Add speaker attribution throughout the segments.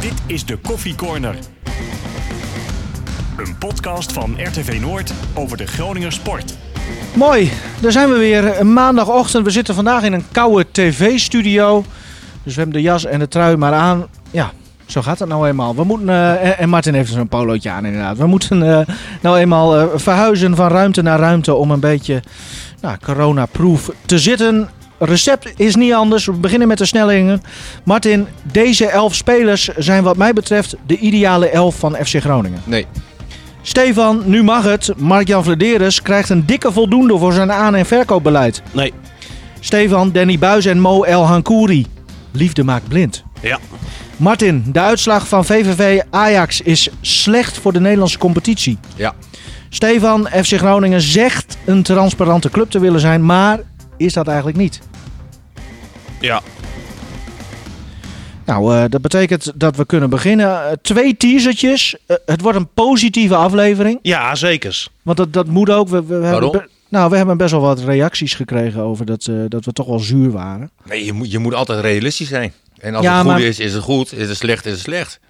Speaker 1: Dit is de Koffie Corner. Een podcast van RTV Noord over de Groninger sport.
Speaker 2: Mooi, daar zijn we weer. Een maandagochtend. We zitten vandaag in een koude tv-studio. Dus we hebben de jas en de trui maar aan. Ja, zo gaat het nou eenmaal. We moeten, eh, en- en Martin heeft zo'n polootje aan inderdaad. We moeten eh, nou eenmaal eh, verhuizen van ruimte naar ruimte om een beetje nou, coronaproof te zitten. Recept is niet anders. We beginnen met de snellingen. Martin, deze elf spelers zijn wat mij betreft de ideale elf van FC Groningen.
Speaker 3: Nee.
Speaker 2: Stefan, nu mag het. Mark-Jan Vladeres krijgt een dikke voldoende voor zijn aan- en verkoopbeleid.
Speaker 4: Nee.
Speaker 2: Stefan, Danny Buis en Mo El Hankouri. Liefde maakt blind.
Speaker 4: Ja.
Speaker 2: Martin, de uitslag van VVV Ajax is slecht voor de Nederlandse competitie.
Speaker 3: Ja.
Speaker 2: Stefan, FC Groningen zegt een transparante club te willen zijn, maar is dat eigenlijk niet?
Speaker 4: Ja.
Speaker 2: Nou, eh, dat betekent dat we kunnen beginnen. Eh, twee teasertjes. Eh, het wordt een positieve aflevering.
Speaker 4: Ja, zekers.
Speaker 2: Want dat, dat moet ook. We, we Hebben
Speaker 3: Waarom?
Speaker 2: be- nou, we hebben best wel wat reacties gekregen over dat, eh, dat we toch wel zuur waren.
Speaker 3: Nee, je moet, je moet altijd realistisch zijn. En als
Speaker 2: Ja,
Speaker 3: het goed
Speaker 2: maar-
Speaker 3: is, is het goed. Is het slecht, is het slecht.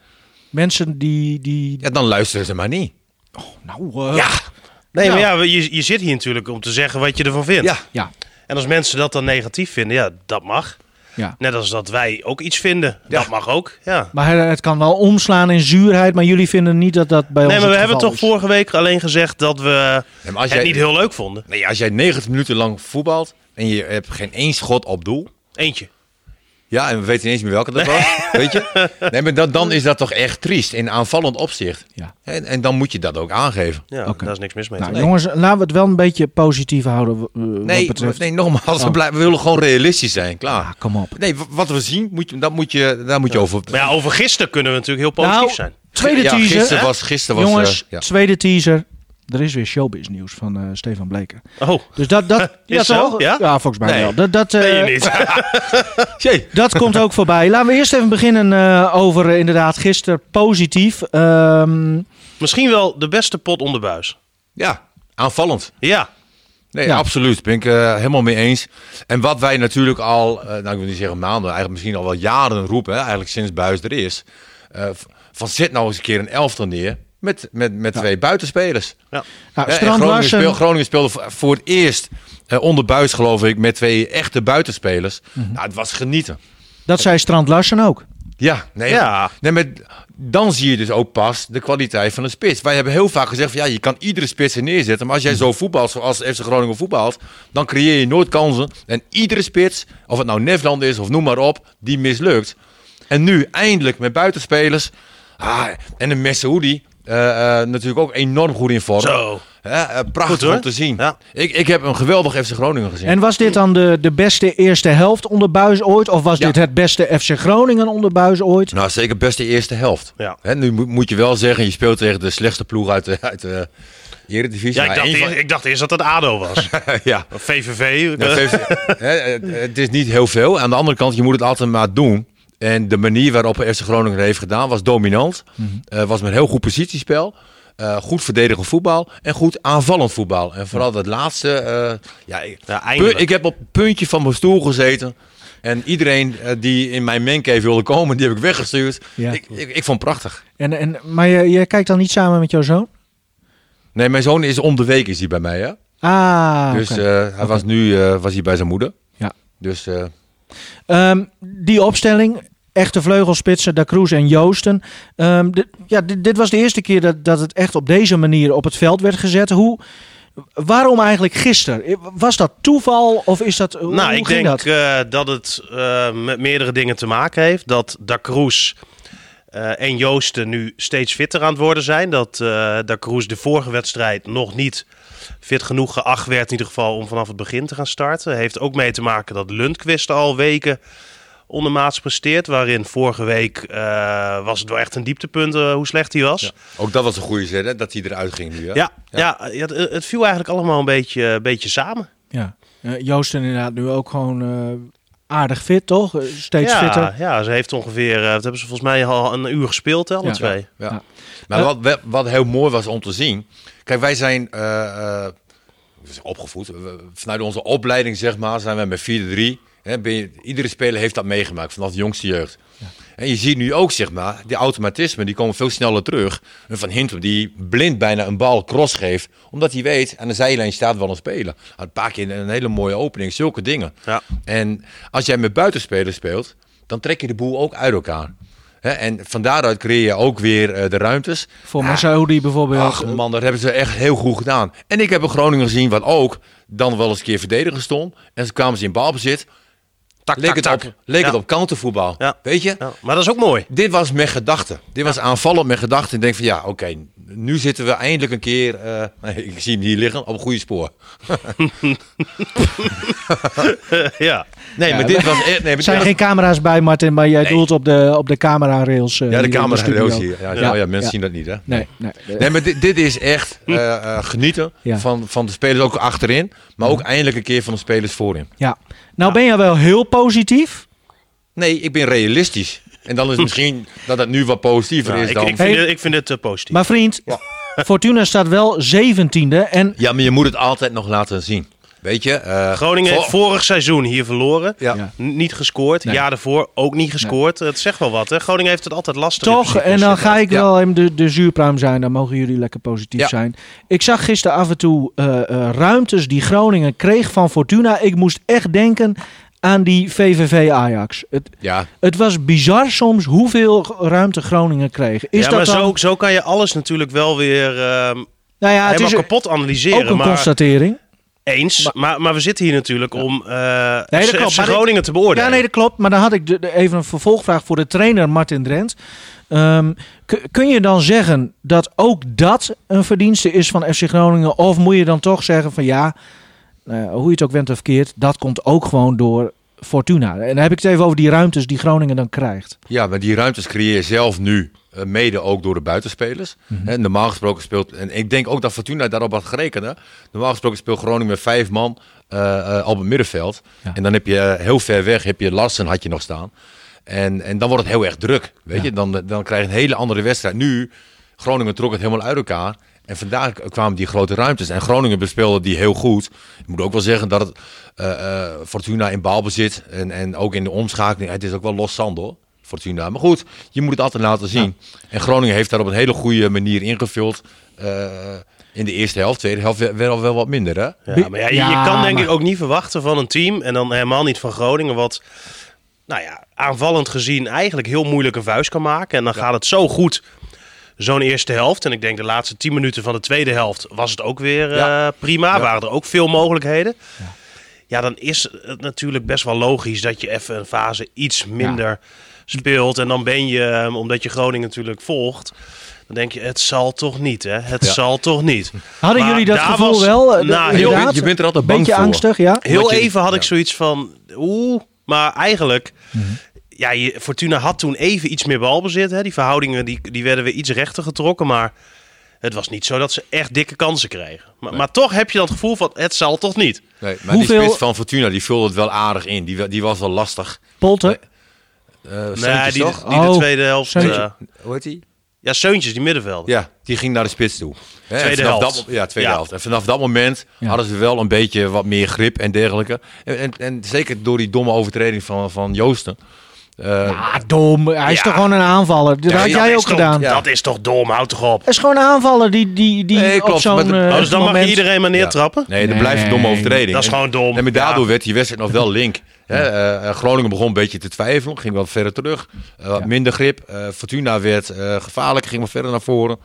Speaker 2: Mensen die. die
Speaker 3: Ja, dan luisteren ze maar niet.
Speaker 2: nou, eh,
Speaker 3: Ja,
Speaker 4: Nee,
Speaker 2: Ja.
Speaker 4: maar ja, we- je, je zit hier natuurlijk om te zeggen wat je ervan vindt.
Speaker 3: ja.
Speaker 2: ja.
Speaker 4: En als mensen dat dan negatief vinden, ja, dat mag.
Speaker 2: Ja.
Speaker 4: Net als dat wij ook iets vinden.
Speaker 3: Ja.
Speaker 4: Dat mag ook, ja.
Speaker 2: Maar het- het kan wel omslaan in zuurheid, maar jullie vinden niet dat dat bij ons.
Speaker 4: Nee, maar we
Speaker 2: het
Speaker 4: hebben
Speaker 2: geval dus.
Speaker 4: toch
Speaker 2: is.
Speaker 4: vorige week alleen gezegd dat we
Speaker 3: Nee, maar
Speaker 4: het
Speaker 3: als jij,
Speaker 4: niet heel leuk vonden.
Speaker 3: nee, als jij 90 minuten lang voetbalt en je hebt geen één schot op doel.
Speaker 4: Eentje.
Speaker 3: Ja, en we weten niet eens meer welke dat was. weet je? Nee, maar dan, dan is dat toch echt triest in aanvallend opzicht.
Speaker 2: Ja.
Speaker 3: En, en dan moet je dat ook aangeven.
Speaker 4: Ja,
Speaker 2: Oké.
Speaker 4: daar is niks mis mee.
Speaker 2: Nou,
Speaker 4: te doen.
Speaker 2: jongens, laten we het wel een beetje positief houden. w- eh, wat
Speaker 3: Nee,
Speaker 2: betreft.
Speaker 3: nee nogmaals,
Speaker 2: Oh.
Speaker 3: we, blijven, we willen gewoon realistisch zijn.
Speaker 2: Ah,
Speaker 3: Klaar.
Speaker 2: kom op.
Speaker 3: Nee, w- wat we zien, moet je, dat moet je, daar moet je over...
Speaker 4: Maar ja, over gisteren kunnen we natuurlijk heel positief
Speaker 2: Nou,
Speaker 4: zijn.
Speaker 2: Tweede
Speaker 3: ja,
Speaker 2: teaser.
Speaker 3: Gisteren was... Gisteren was
Speaker 2: jongens,
Speaker 3: eh, ja.
Speaker 2: tweede teaser. Er is weer showbiz nieuws van eh, Stefan Bleker.
Speaker 4: Oh,
Speaker 2: Dus dat. dat
Speaker 4: Is zo? Ja?
Speaker 2: volgens mij
Speaker 3: Nee.
Speaker 2: wel. Dat, dat, eh,
Speaker 4: ben je niet.
Speaker 3: Jee.
Speaker 2: Dat komt ook voorbij. Laten we eerst even beginnen eh, over eh, inderdaad gisteren positief. Ehm,
Speaker 4: Misschien wel de beste pot onder buis.
Speaker 3: Ja, aanvallend.
Speaker 4: Ja,
Speaker 3: Nee,
Speaker 2: Ja.
Speaker 3: absoluut. Ben ik eh, helemaal mee eens. En wat wij natuurlijk al, eh, nou ik wil niet zeggen maanden, eigenlijk misschien al wel jaren roepen, hè, eigenlijk sinds Buis er is. eh, v- van zet nou eens een keer een elftal neer met, met, met twee buitenspelers.
Speaker 4: ja.
Speaker 2: nou,
Speaker 3: Hè, en
Speaker 2: Strand
Speaker 3: Groningen,
Speaker 2: Larsen,
Speaker 3: speel- Groningen speelde vo- voor het eerst eh, onder Buis, geloof ik, met twee echte buitenspelers.
Speaker 2: Mhm.
Speaker 3: Nou, het was genieten.
Speaker 2: dat zei Strand Larsen ook.
Speaker 3: Ja, nee,
Speaker 4: Ja.
Speaker 3: nee maar dan zie je dus ook pas de kwaliteit van een spits. Wij hebben heel vaak gezegd van ja, je kan iedere spits er neerzetten. Maar als jij zo voetbalt zoals FC Groningen voetbalt, dan creëer je nooit kansen. En iedere spits, of het nou Nefland is of noem maar op, die mislukt. En nu eindelijk met buitenspelers. Ah, en een Messehoedi, eh eh natuurlijk ook enorm goed in vorm.
Speaker 4: Zo.
Speaker 3: Hè, eh, prachtig
Speaker 4: Goed, hoor.
Speaker 3: om te zien.
Speaker 4: Ja.
Speaker 3: Ik, ik heb een geweldig FC Groningen gezien.
Speaker 2: En was dit dan de, de beste eerste helft onder Buis ooit? Of was
Speaker 3: Ja.
Speaker 2: dit het beste FC Groningen onder Buis ooit?
Speaker 3: Nou, zeker best de eerste helft.
Speaker 4: Ja.
Speaker 3: Hè, nu moet, moet je wel zeggen, je speelt tegen de slechtste ploeg uit de, uit de Eredivisie.
Speaker 4: ja ik,
Speaker 3: Maar
Speaker 4: dacht
Speaker 3: één
Speaker 4: eerst,
Speaker 3: van-
Speaker 4: ik dacht eerst dat het ADO was.
Speaker 3: ja.
Speaker 4: Of VVV.
Speaker 3: Ja,
Speaker 4: eh,
Speaker 3: VV hè, het- het is niet heel veel. Aan de andere kant, je moet het altijd maar doen. En de manier waarop FC Groningen het heeft gedaan was dominant.
Speaker 4: Mhm.
Speaker 3: Eh, was met heel goed positiespel. eh, goed verdedigend voetbal en goed aanvallend voetbal. En vooral dat laatste. eh, ja, ik-
Speaker 4: Ja, eindelijk.
Speaker 3: ik heb op het puntje van mijn stoel gezeten. En iedereen eh, die in mijn mancave wilde komen, die heb ik weggestuurd.
Speaker 2: Ja.
Speaker 3: Ik, ik, ik vond het prachtig.
Speaker 2: En, en, maar je, je kijkt dan niet samen met jouw zoon?
Speaker 3: Nee, mijn zoon is om de week is hij bij mij, hè?
Speaker 2: Ah,
Speaker 3: dus
Speaker 2: oké.
Speaker 3: eh, hij was nu eh, was hij bij zijn moeder.
Speaker 2: Ja.
Speaker 3: Dus eh,
Speaker 2: Ehm, die opstelling, echte vleugelspitsen, Da Cruz en Joosten. Ehm, dit- ja, dit, dit was de eerste keer dat, dat het echt op deze manier op het veld werd gezet. Hoe, waarom eigenlijk gisteren? Was dat toeval of is dat, hoe,
Speaker 4: nou,
Speaker 2: hoe
Speaker 4: ik
Speaker 2: ging
Speaker 4: denk
Speaker 2: dat?
Speaker 4: dat, dat het eh, met meerdere dingen te maken heeft. Dat Da Cruz eh, en Joosten nu steeds fitter aan het worden zijn. Dat eh Da Cruz de vorige wedstrijd nog niet fit genoeg geacht werd, in ieder geval om vanaf het begin te gaan starten. Heeft ook mee te maken dat Lundqvist al weken ondermaats presteert. Waarin vorige week eh, was het wel echt een dieptepunt eh, hoe slecht hij was.
Speaker 3: ook dat was een goede zet, hè? Dat hij eruit ging nu, hè?
Speaker 4: Ja, ja. ja, het, het viel eigenlijk allemaal een beetje, een beetje samen.
Speaker 2: Ja. Eh, Joosten inderdaad nu ook gewoon eh, aardig fit, toch? Eh, Steeds
Speaker 4: ja,
Speaker 2: fitter.
Speaker 4: Ja, ze heeft ongeveer, eh, wat hebben ze volgens mij al een uur gespeeld, hè, alle
Speaker 2: Ja.
Speaker 4: twee.
Speaker 3: Ja.
Speaker 2: Ja.
Speaker 3: Maar
Speaker 2: Eh,
Speaker 3: wat, we- wat heel mooi was om te zien. Kijk, wij zijn eh, eh, we zijn opgevoed. We- Vanuit onze opleiding, zeg maar, zijn wij met 4-3. Hè, ben je- Iedere speler heeft dat meegemaakt vanaf de jongste jeugd. En je ziet nu ook, zeg maar, die automatismen die komen veel sneller terug. En van Hintem die blind bijna een bal cross geeft, omdat hij weet, aan de zijlijn staat wel een speler. Had Een paar keer een hele mooie opening, zulke dingen.
Speaker 4: Ja.
Speaker 3: En als jij met buitenspelers speelt, dan trek je de boel ook uit elkaar. Hè, en van daaruit creëer je ook weer eh, de ruimtes.
Speaker 2: Voor Masaudi bijvoorbeeld. Eh,
Speaker 3: Ach man, dat hebben ze echt heel goed gedaan. En ik heb een Groningen gezien wat ook dan wel eens een keer verdedigen stond. En ze kwamen ze in balbezit.
Speaker 4: Tak,
Speaker 3: Leek,
Speaker 4: tak,
Speaker 3: het,
Speaker 4: tak.
Speaker 3: Op, leek
Speaker 4: Ja.
Speaker 3: het op countervoetbal.
Speaker 4: Ja.
Speaker 3: Weet je?
Speaker 4: Ja, maar dat is ook mooi.
Speaker 3: Dit was met gedachten. Dit was aanvallend met gedachten. Ik denk van ja, oké, nu zitten we eindelijk een keer, eh, ik zie hem hier liggen, op een goede spoor.
Speaker 4: ja.
Speaker 3: Nee, maar dit was echt... Nee, maar
Speaker 2: Er zijn
Speaker 3: dit
Speaker 2: geen camera's bij, Martin, maar jij doelt op de, op de camera-rails. eh,
Speaker 3: was- ja, de
Speaker 2: hier in
Speaker 3: camera
Speaker 2: studio.
Speaker 3: roos hier. Ja,
Speaker 2: Ja.
Speaker 3: ja, ja, mensen
Speaker 2: Ja.
Speaker 3: zien dat niet hè.
Speaker 2: Nee, nee.
Speaker 3: Nee, maar dit, dit is echt eh, eh, genieten
Speaker 2: Ja.
Speaker 3: van, van de spelers ook achterin. Maar ook eindelijk een keer van de spelers voorin.
Speaker 2: Ja. Nou ben je wel heel positief.
Speaker 3: Nee, ik ben realistisch. En dan is het misschien dat het nu wat positiever
Speaker 4: Ja,
Speaker 3: is
Speaker 4: Nou, ik,
Speaker 3: dan...
Speaker 4: ik, vind,
Speaker 2: Hey.
Speaker 4: dit- ik vind het eh, positief.
Speaker 2: Maar vriend, Fortuna staat wel 17e. En
Speaker 3: Ja, maar je moet het altijd nog laten zien. Weet je? eh,
Speaker 4: Groningen heeft
Speaker 3: voor-
Speaker 4: vorig seizoen hier verloren.
Speaker 3: Ja.
Speaker 2: Ja.
Speaker 4: N- Niet gescoord.
Speaker 2: Nee.
Speaker 4: Jaar daarvoor ook niet gescoord. Het zegt wel wat. Hè? Groningen heeft het altijd lastig. in
Speaker 2: toch,
Speaker 4: principe.
Speaker 2: en dan ga ik
Speaker 3: Ja.
Speaker 2: wel hem de, de zuurpruim zijn. Dan mogen jullie lekker positief
Speaker 3: Ja.
Speaker 2: zijn. Ik zag gisteren af en toe eh, eh, ruimtes die Groningen kreeg van Fortuna. Ik moest echt denken aan die VVV Ajax. Het,
Speaker 3: Ja,
Speaker 2: het was bizar soms hoeveel ruimte Groningen kreeg. Is
Speaker 4: ja,
Speaker 2: dat
Speaker 4: maar
Speaker 2: dan,
Speaker 4: zo, zo kan je alles natuurlijk wel weer ehm,
Speaker 2: nou ja, het
Speaker 4: helemaal
Speaker 2: is ook
Speaker 4: kapot analyseren.
Speaker 2: een
Speaker 4: maar
Speaker 2: constatering.
Speaker 4: eens. Maar, maar, we zitten hier natuurlijk om eh
Speaker 2: dat
Speaker 4: FC
Speaker 2: klopt, maar dit-
Speaker 4: Groningen te beoordelen.
Speaker 2: Ja, nee, dat klopt. Maar dan had ik de, de- even een vervolgvraag voor de trainer Martin Drent. Ehm, k- kun je dan zeggen dat ook dat een verdienste is van FC Groningen? Of moet je dan toch zeggen van ja, nou ja, hoe je het ook went of keert, dat komt ook gewoon door Fortuna. En dan heb ik het even over die ruimtes die Groningen dan krijgt.
Speaker 3: ja, maar die ruimtes creëer je zelf nu. eh, Mede ook door de buitenspelers.
Speaker 2: Mhm.
Speaker 3: Hè, normaal gesproken speelt. En ik denk ook dat Fortuna daarop had gerekend. Hè? Normaal gesproken speelt Groningen met vijf man eh, eh, op het middenveld.
Speaker 2: Ja.
Speaker 3: En dan heb je eh, heel ver weg. Heb je Larsen had je nog staan. En, en dan wordt het heel erg druk. Weet
Speaker 2: Ja.
Speaker 3: je? Dan, dan krijg je een hele andere wedstrijd. Nu, Groningen trok het helemaal uit elkaar. En vandaag kwamen die grote ruimtes. En Groningen bespeelde die heel goed. Ik moet ook wel zeggen dat het, eh, eh, Fortuna in balbezit en, en ook in de omschakeling. Het is ook wel los zand hoor, Fortuna. Maar goed, je moet het altijd laten zien. En Groningen heeft daar op een hele goede manier ingevuld. eh, in de eerste helft, tweede helft wel, wel, wel wat minder hè?
Speaker 4: Ja, maar ja, je, je
Speaker 2: Ja,
Speaker 4: kan denk
Speaker 2: maar-
Speaker 4: ik ook niet verwachten van een team. En dan helemaal niet van Groningen. Wat nou ja, aanvallend gezien eigenlijk heel moeilijk een vuist kan maken. En dan gaat het zo goed. Zo'n eerste helft. En ik denk de laatste tien minuten van de tweede helft was het ook weer eh,
Speaker 3: Ja.
Speaker 4: prima.
Speaker 3: Ja.
Speaker 4: Waren er ook veel mogelijkheden. Ja. dan is het natuurlijk best wel logisch dat je even een fase iets minder speelt. En dan ben je, eh, omdat je Groningen natuurlijk volgt. Dan denk je, het zal toch niet, hè? Het
Speaker 3: Ja.
Speaker 4: zal toch niet.
Speaker 2: Hadden
Speaker 4: Maar
Speaker 2: jullie dat
Speaker 4: daar
Speaker 2: gevoel
Speaker 4: was-
Speaker 2: wel? eh,
Speaker 4: Nou,
Speaker 2: de-
Speaker 4: heel-
Speaker 2: inderdaad?
Speaker 3: je bent er altijd bang
Speaker 2: Beetje
Speaker 3: voor.
Speaker 2: angstig, ja?
Speaker 4: Heel
Speaker 3: Omdat je-
Speaker 4: even had ik
Speaker 3: ja.
Speaker 4: zoiets van, oeh, maar eigenlijk,
Speaker 2: Mhm.
Speaker 4: ja, je, Fortuna had toen even iets meer balbezit. Hè. Die verhoudingen die, die werden weer iets rechter getrokken, maar het was niet zo dat ze echt dikke kansen kregen. Maar, maar toch heb je dat gevoel van, het zal toch niet.
Speaker 3: Nee, maar
Speaker 2: Hoeveel-
Speaker 3: die spits van Fortuna die vulde het wel aardig in. Die, wa- die was wel lastig.
Speaker 2: Polter?
Speaker 3: Eh, Seuntjes,
Speaker 4: die,
Speaker 3: toch?
Speaker 4: die
Speaker 2: Oh,
Speaker 4: de tweede helft.
Speaker 2: Seuntje.
Speaker 4: eh,
Speaker 3: Hoe heet die?
Speaker 4: ja, Seuntjes, die middenvelder.
Speaker 3: Ja, die ging naar de spits toe. Hè, en
Speaker 4: Tweede
Speaker 3: vanaf
Speaker 4: helft.
Speaker 3: dat mo- ja, tweede
Speaker 4: Ja.
Speaker 3: helft. En vanaf dat moment hadden ze wel een beetje wat meer grip en dergelijke. En, en, en zeker door die domme overtreding van, van Joosten. Eh,
Speaker 2: Ah, dom. Hij is
Speaker 4: Ja.
Speaker 2: toch gewoon een aanvaller? Dat
Speaker 4: Ja,
Speaker 2: had
Speaker 4: dat
Speaker 2: jij
Speaker 4: is
Speaker 2: ook
Speaker 4: toch-
Speaker 2: gedaan.
Speaker 3: Ja.
Speaker 4: Dat is toch dom, houd toch op.
Speaker 2: Het is gewoon een aanvaller die, die, die
Speaker 3: Nee,
Speaker 2: op
Speaker 3: klopt,
Speaker 2: zo'n
Speaker 3: maar de-
Speaker 2: eh,
Speaker 4: Oh, dus dan mag je
Speaker 2: moment-
Speaker 4: iedereen maar neertrappen?
Speaker 3: Nee, dat
Speaker 2: Nee.
Speaker 3: blijft een domme overtreding.
Speaker 4: Dat is
Speaker 3: En-
Speaker 4: gewoon dom.
Speaker 3: En met
Speaker 4: Ja.
Speaker 3: daardoor werd die wedstrijd nog wel link. Hè, eh, eh, Groningen begon een beetje te twijfelen, ging wat verder terug. eh, wat Minder grip. Eh, Fortuna werd eh, gevaarlijk, ging wat verder naar voren.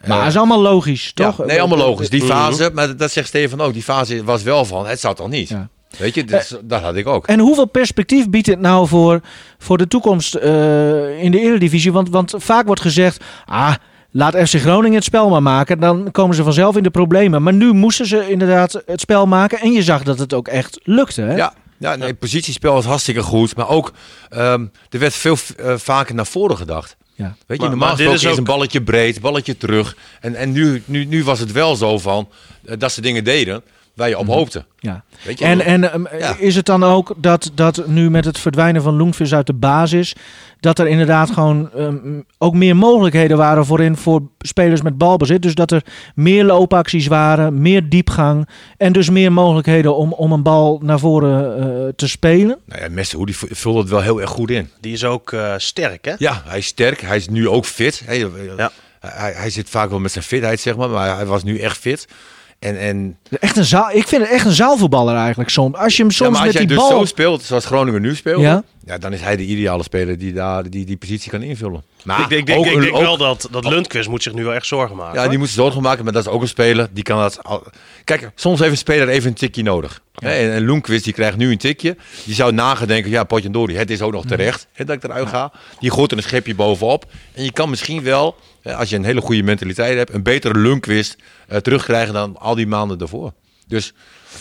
Speaker 3: Eh,
Speaker 2: Maar het is allemaal logisch,
Speaker 3: Ja,
Speaker 2: toch?
Speaker 3: nee, allemaal logisch. Die
Speaker 4: Mhm.
Speaker 3: fase, maar dat zegt Steven ook, die fase was wel van, het zou toch niet?
Speaker 2: Ja.
Speaker 3: Weet je, dus,
Speaker 4: Eh.
Speaker 3: dat had ik ook.
Speaker 2: En hoeveel perspectief biedt dit nou voor, voor de toekomst eh, in de Eredivisie? Want, want vaak wordt gezegd, ah, laat FC Groningen het spel maar maken. Dan komen ze vanzelf in de problemen. Maar nu moesten ze inderdaad het spel maken. En je zag dat het ook echt lukte, hè?
Speaker 3: Ja, ja nee, het positiespel was hartstikke goed. Maar ook, ehm, er werd veel eh, vaker naar voren gedacht.
Speaker 2: Ja.
Speaker 3: Weet je,
Speaker 4: Maar-
Speaker 3: normaal
Speaker 4: maar dit
Speaker 3: gesproken is,
Speaker 4: is ook-
Speaker 3: een balletje breed, balletje terug. En, en nu, nu, nu was het wel zo van, eh, dat ze dingen deden. waar
Speaker 4: Mhm.
Speaker 3: je op hoopte.
Speaker 2: Ja.
Speaker 3: Weet je?
Speaker 2: En, en ehm,
Speaker 3: Ja.
Speaker 2: is het dan ook dat, dat nu met het verdwijnen van Loenvis uit de basis, dat er inderdaad gewoon ehm, ook meer mogelijkheden waren voorin voor spelers met balbezit? Dus dat er meer loopacties waren, meer diepgang en dus meer mogelijkheden om, om een bal naar voren eh, te spelen?
Speaker 3: nou ja, Messi, die vu- vulde het wel heel erg goed in.
Speaker 4: Die is ook eh, sterk, hè?
Speaker 3: Ja, hij is sterk. Hij is nu ook fit. Hij, eh,
Speaker 4: Ja.
Speaker 3: hij, hij zit vaak wel met zijn fitheid, zeg maar. Maar hij was nu echt fit. En, en
Speaker 2: Echt een zaal, ik vind het echt een zaalvoetballer eigenlijk soms. Als je hem
Speaker 3: ja,
Speaker 2: soms
Speaker 3: maar als
Speaker 2: met
Speaker 3: jij
Speaker 2: die
Speaker 3: dus
Speaker 2: bal...
Speaker 3: zo speelt, zoals Groningen nu speelt,
Speaker 2: Ja.
Speaker 3: ja? dan is hij de ideale speler die daar, die, die positie kan invullen. Maar
Speaker 4: ik denk, ik denk,
Speaker 3: ook
Speaker 4: ik
Speaker 3: een-
Speaker 4: denk
Speaker 3: ook-
Speaker 4: wel dat, dat Lundqvist moet zich nu wel echt zorgen maken.
Speaker 3: Ja, die moet zich zorgen maken, maar dat is ook een speler. Die kan dat al- Kijk, soms heeft een speler even een tikje nodig. Hè, En, en Loenquist, die krijgt nu een tikje. Die zou nagedenken, ja, potjandori, het is ook nog terecht hè, dat ik eruit ga. Die gooit er een schepje bovenop. En je kan misschien wel, hè, als je een hele goede mentaliteit hebt, een betere Loenquist eh, terugkrijgen dan al die maanden daarvoor. Dus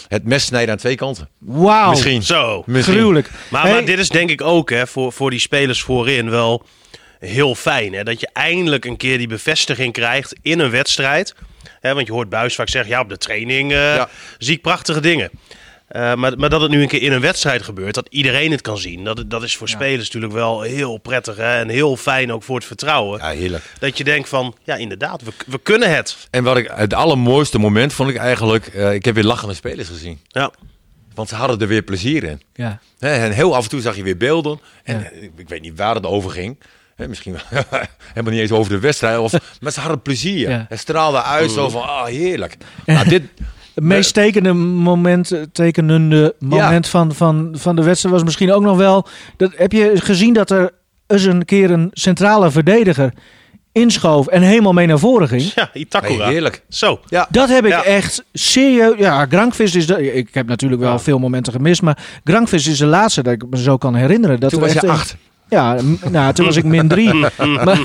Speaker 3: het mes snijdt aan twee kanten.
Speaker 2: Wauw,
Speaker 3: Misschien.
Speaker 4: Zo.
Speaker 3: Misschien.
Speaker 2: gruwelijk.
Speaker 4: Maar,
Speaker 2: Hey,
Speaker 4: maar dit is denk ik ook hè, voor, voor die spelers voorin wel heel fijn. Hè, dat je eindelijk een keer die bevestiging krijgt in een wedstrijd. Hè, want je hoort Buis vaak zeggen, ja, op de training eh,
Speaker 3: Ja.
Speaker 4: zie ik prachtige dingen. Eh, maar, maar dat het nu een keer in een wedstrijd gebeurt, dat iedereen het kan zien. Dat, dat is voor spelers natuurlijk wel heel prettig hè, en heel fijn ook voor het vertrouwen.
Speaker 3: Ja, heerlijk.
Speaker 4: Dat je denkt van, ja inderdaad, we, we kunnen het.
Speaker 3: En wat ik, het allermooiste moment vond ik eigenlijk, eh, ik heb weer lachende spelers gezien.
Speaker 4: Ja,
Speaker 3: Want ze hadden er weer plezier in.
Speaker 2: ja.
Speaker 3: Hè, en heel af en toe zag je weer beelden. En
Speaker 2: Ja.
Speaker 3: eh, ik, ik weet niet waar het over ging. Hè, misschien wel- helemaal niet eens over de wedstrijd. Of, maar ze hadden plezier.
Speaker 2: Ja.
Speaker 3: Het straalde uit zo van, ah, heerlijk. Nou, dit,
Speaker 2: Het meest tekende moment, eh, tekenende moment van, van, van de wedstrijd was misschien ook nog wel. Dat, heb je gezien dat er eens een keer een centrale verdediger inschoof en helemaal mee naar voren ging?
Speaker 4: ja Itakura.
Speaker 3: Nee, heerlijk.
Speaker 4: Zo.
Speaker 3: ja,
Speaker 2: Dat heb ik
Speaker 4: Ja.
Speaker 2: echt serieus. Ja, Grankvist is. De, ik heb natuurlijk wel veel momenten gemist. Maar Grankvist is de laatste dat ik me zo kan herinneren. Dat
Speaker 3: toen
Speaker 2: er
Speaker 3: was
Speaker 2: echt
Speaker 3: je
Speaker 2: een-
Speaker 3: acht.
Speaker 2: ja, m- nou, toen was ik min drie. maar,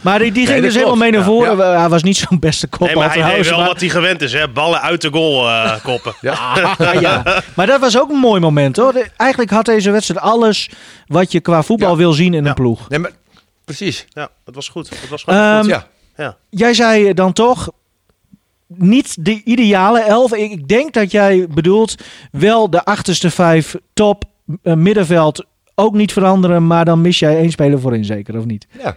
Speaker 2: maar die, die ging
Speaker 3: dat
Speaker 2: dus helemaal
Speaker 3: klopt.
Speaker 2: mee naar
Speaker 3: Ja.
Speaker 2: voren. Hij was niet zo'n beste kop.
Speaker 4: Nee, maar hij
Speaker 2: trouwens,
Speaker 4: deed wel
Speaker 2: maar-
Speaker 4: wat hij gewend is, hè. Ballen uit de goal eh, koppen.
Speaker 2: Ah, ja. Maar dat was ook een mooi moment hoor. De- Eigenlijk had deze wedstrijd alles wat je qua voetbal
Speaker 3: Ja.
Speaker 2: wil zien in een
Speaker 4: Ja.
Speaker 2: ploeg.
Speaker 3: Nee, maar, precies.
Speaker 4: Ja, dat was goed. Dat was gewoon
Speaker 2: Ehm,
Speaker 4: goed.
Speaker 3: ja.
Speaker 4: Ja.
Speaker 2: Jij zei eh, dan toch niet de ideale elf. Ik ik denk dat jij bedoelt wel de achterste vijf top eh, middenveld ook niet veranderen, maar dan mis jij één speler voorin zeker of niet?
Speaker 3: Ja.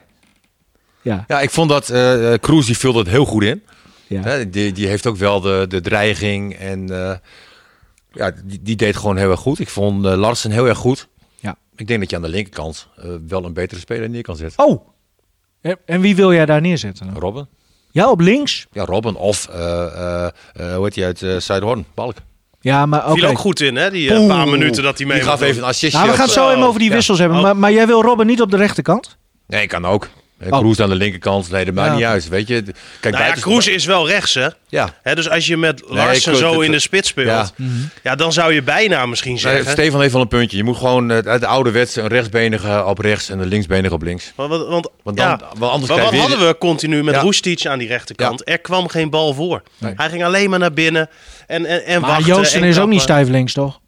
Speaker 2: Ja.
Speaker 3: ja, ik vond dat eh eh, Kroes, die vulde het heel goed in.
Speaker 2: ja.
Speaker 3: Hè, die, die heeft ook wel de, de dreiging. En eh, ja, die, die deed gewoon heel erg goed. Ik vond eh, Larsen heel erg goed.
Speaker 2: Ja.
Speaker 3: Ik denk dat je aan de linkerkant eh, wel een betere speler neer kan zetten.
Speaker 2: Oh. En- En wie wil jij daar neerzetten? dan?
Speaker 3: Robben.
Speaker 2: Ja, op links.
Speaker 3: Ja, Robben of, eh eh, eh, hoe heet hij uit eh Zuidhoorn, Balk.
Speaker 2: Ja, maar
Speaker 4: Viel
Speaker 2: oké.
Speaker 4: ook goed in, hè? Die eh, paar minuten dat hij mee
Speaker 3: Die gaf
Speaker 4: mocht
Speaker 3: even een assistje. eh,
Speaker 2: Nou, we gaan het zo
Speaker 4: Oh.
Speaker 2: even over die
Speaker 3: Ja.
Speaker 2: wissels hebben.
Speaker 4: Oh.
Speaker 2: Maar, maar jij wil Robben niet op de rechterkant?
Speaker 3: Nee, kan ook. Eh,
Speaker 2: Oh.
Speaker 3: Kroes aan de linkerkant, nee, dat maakt
Speaker 2: Ja.
Speaker 3: niet uit, weet je. Kijk,
Speaker 4: Nou ja,
Speaker 3: buiten-
Speaker 4: Kroes is wel rechts, hè?
Speaker 3: Ja.
Speaker 4: Hè, dus als je met Larsen
Speaker 3: klopt,
Speaker 4: zo
Speaker 3: het-
Speaker 4: in de spits speelt,
Speaker 3: Ja.
Speaker 4: ja. dan zou je bijna misschien
Speaker 3: Nee,
Speaker 4: zeggen.
Speaker 3: Stefan heeft wel een puntje. Je moet gewoon eh, uit de ouderwetse een rechtsbenige op rechts en een linksbenige op links.
Speaker 4: want, want, want-
Speaker 3: Want dan-
Speaker 4: ja.
Speaker 3: want anders
Speaker 4: want
Speaker 3: krijg
Speaker 4: wat
Speaker 3: je-
Speaker 4: hadden we continu met
Speaker 3: Ja.
Speaker 4: Roestic aan die rechterkant? Er kwam geen bal voor. Hij ging alleen maar naar binnen en, en, en
Speaker 2: Maar
Speaker 4: wachten.
Speaker 2: Joosten
Speaker 4: en
Speaker 2: is ook
Speaker 4: kappen.
Speaker 2: niet stijf links, toch?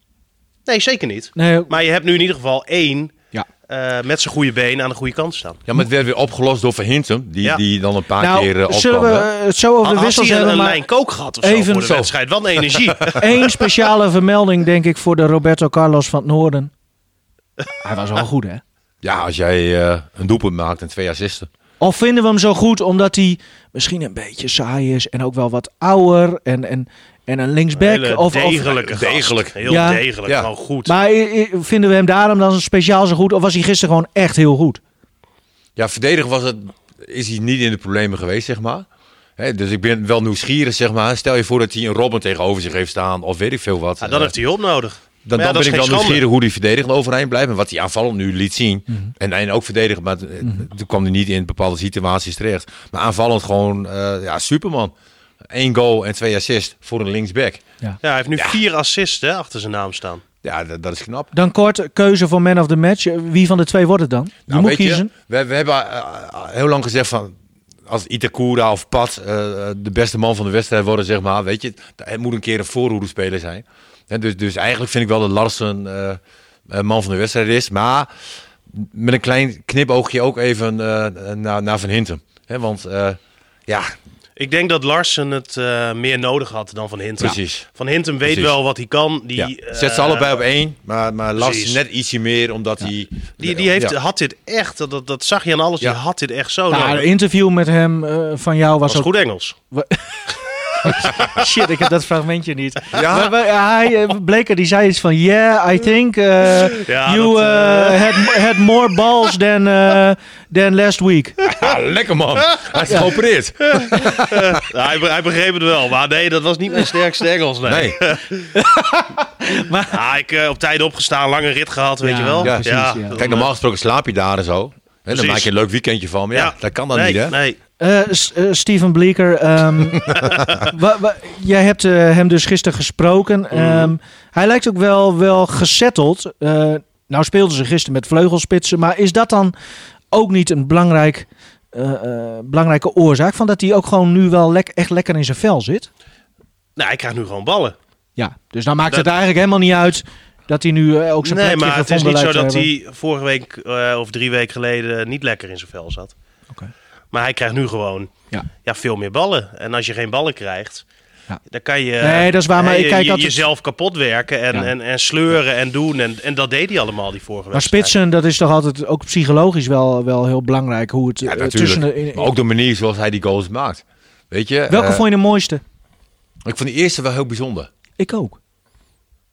Speaker 4: Nee, zeker niet.
Speaker 2: Nee. nou,
Speaker 4: Maar je hebt nu in ieder geval één
Speaker 2: Ja.
Speaker 4: eh, met zijn goede been aan de goede kant staan.
Speaker 3: Ja, maar het werd weer opgelost door Van Hintem, die,
Speaker 4: Ja.
Speaker 3: die dan een paar
Speaker 2: Nou,
Speaker 3: keer eh, opkwam.
Speaker 2: zullen we
Speaker 3: hè.
Speaker 2: eh, het zo over de
Speaker 4: Had
Speaker 2: wissels
Speaker 4: hij een,
Speaker 2: hebben,
Speaker 4: een
Speaker 2: maar
Speaker 4: lijn kook gehad of zo
Speaker 2: Even
Speaker 4: voor de
Speaker 2: zo.
Speaker 4: wedstrijd? Wat een energie.
Speaker 2: één speciale vermelding, denk ik, voor de Roberto Carlos van het Noorden. Hij was wel goed, hè?
Speaker 3: Ja, als jij eh, een doelpunt maakt en twee assisten.
Speaker 2: Of vinden we hem zo goed omdat hij misschien een beetje saai is en ook wel wat ouder en, en, en een linksback?
Speaker 4: Hele
Speaker 2: Of, of,
Speaker 4: degelijke gast.
Speaker 3: Degelijk.
Speaker 4: Heel
Speaker 2: Ja.
Speaker 4: degelijk,
Speaker 3: Ja.
Speaker 4: gewoon goed.
Speaker 2: maar eh, eh, vinden we hem daarom dan speciaal zo goed? Of was hij gisteren gewoon echt heel goed?
Speaker 3: Ja, verdedigen was het, is hij niet in de problemen geweest, zeg maar. Hè, dus ik ben wel nieuwsgierig, zeg maar. Stel je voor dat hij een Robben tegenover zich heeft staan of weet ik veel wat.
Speaker 4: Ja,
Speaker 3: Eh,
Speaker 4: dan heeft hij hulp nodig.
Speaker 3: Dan,
Speaker 4: Maar ja,
Speaker 3: dan ben
Speaker 4: dat
Speaker 3: ik
Speaker 4: is
Speaker 3: wel
Speaker 4: geen schande. Mhm.
Speaker 3: nieuwsgierig hoe die verdedigend overeind blijft. En wat hij aanvallend nu liet zien. en, en ook verdedigend, maar eh, toen kwam hij niet in bepaalde situaties terecht. Maar aanvallend gewoon, eh, ja, superman. Eén goal en twee assists voor een linksback.
Speaker 4: Ja, hij heeft nu vier assists hè, achter zijn naam staan.
Speaker 3: Ja, dat, dat is knap.
Speaker 2: Dan kort, keuze voor man of the match. Eh, Wie van de twee wordt het dan? Je
Speaker 3: Nou,
Speaker 2: moet
Speaker 3: weet je,
Speaker 2: kiezen.
Speaker 3: we, we hebben eh, heel lang gezegd van... Als Itakura of Pat eh, de beste man van de wedstrijd worden, zeg maar. Weet je, het moet een keer een voorhoede speler zijn. Hè, dus, dus eigenlijk vind ik wel dat Larsen eh, een man van de wedstrijd is. Maar met een klein knipoogje ook even eh, naar, naar Van Hintem. Hè, want eh, ja,
Speaker 4: Ik Ik denk dat Larsen het eh, meer nodig had dan Van Hintem.
Speaker 3: Precies.
Speaker 4: Van Hintem weet
Speaker 3: Precies.
Speaker 4: wel wat hij kan. Die,
Speaker 3: Ja.
Speaker 4: eh,
Speaker 3: Zet ze allebei op één, maar, maar Lars
Speaker 4: precies.
Speaker 3: net ietsje meer, omdat hij...
Speaker 4: Die, die heeft,
Speaker 3: Ja.
Speaker 4: had dit echt, dat, dat, dat zag je aan alles,
Speaker 3: Ja.
Speaker 4: die had dit echt zo
Speaker 2: Nou,
Speaker 4: nodig.
Speaker 2: een interview met hem eh, van jou was,
Speaker 4: Dat was
Speaker 2: ook...
Speaker 4: goed Engels.
Speaker 2: Shit, ik heb dat fragmentje niet.
Speaker 3: Ja.
Speaker 2: Maar, maar, eh, hij, eh, Bleker, die zei iets van... Yeah, I think eh,
Speaker 4: Ja,
Speaker 2: you
Speaker 4: dat,
Speaker 2: eh, had, had more balls than, eh, than last week.
Speaker 3: Ja, lekker man. Hij is geopereerd.
Speaker 4: Ja, hij, be- hij begreep het wel, maar nee, dat was niet mijn sterkste Engels. Nee.
Speaker 3: Nee,
Speaker 4: Ja, ik eh, op tijd opgestaan, lange rit gehad, weet
Speaker 2: Ja,
Speaker 4: je wel.
Speaker 3: ja, precies,
Speaker 2: ja.
Speaker 4: dan,
Speaker 3: kijk, normaal gesproken slaap je daar en zo. En dan
Speaker 4: Precies.
Speaker 3: maak je een leuk weekendje van. Maar ja,
Speaker 4: Ja.
Speaker 3: dat kan dan
Speaker 4: nee,
Speaker 3: niet, hè?
Speaker 4: Nee.
Speaker 2: Eh, S- eh, Steven Bleeker, ehm, wa- wa- jij hebt eh, hem dus gisteren gesproken. Ehm, Hij lijkt ook wel, wel gezetteld. Eh, nou speelden ze gisteren met vleugelspitsen, maar is dat dan ook niet een belangrijk, eh, eh, belangrijke oorzaak van dat hij ook gewoon nu wel lek- echt lekker in zijn vel zit?
Speaker 4: Nou, hij krijgt nu gewoon ballen.
Speaker 2: Ja, dus dan maakt het
Speaker 4: Dat-
Speaker 2: eigenlijk helemaal niet uit dat hij nu eh, ook zijn
Speaker 4: Nee,
Speaker 2: plekje
Speaker 4: maar het is niet
Speaker 2: gevonden
Speaker 4: zo
Speaker 2: lijkt
Speaker 4: dat
Speaker 2: te hebben.
Speaker 4: hij vorige week eh, of drie weken geleden niet lekker in zijn vel zat.
Speaker 2: Oké.
Speaker 4: Maar hij krijgt nu gewoon
Speaker 2: Ja.
Speaker 4: ja, veel meer ballen. En als je geen ballen krijgt,
Speaker 2: Ja.
Speaker 4: dan kan je,
Speaker 2: Nee, dat is waar, maar
Speaker 4: hè,
Speaker 2: ik
Speaker 4: je-
Speaker 2: kijk
Speaker 4: je-
Speaker 2: altijd-
Speaker 4: jezelf kapot werken en,
Speaker 2: Ja.
Speaker 4: en, en sleuren en doen. En, en dat deed hij allemaal die vorige
Speaker 2: Maar
Speaker 4: week.
Speaker 2: spitsen, dat is toch altijd ook psychologisch wel, wel heel belangrijk. Hoe het
Speaker 3: Ja,
Speaker 2: eh,
Speaker 3: natuurlijk.
Speaker 2: tussen de, in-
Speaker 3: Maar ook de manier zoals hij die goals maakt. Weet je?
Speaker 2: Welke
Speaker 3: eh,
Speaker 2: vond je de mooiste?
Speaker 3: Ik vond die eerste wel heel bijzonder.
Speaker 2: Ik ook.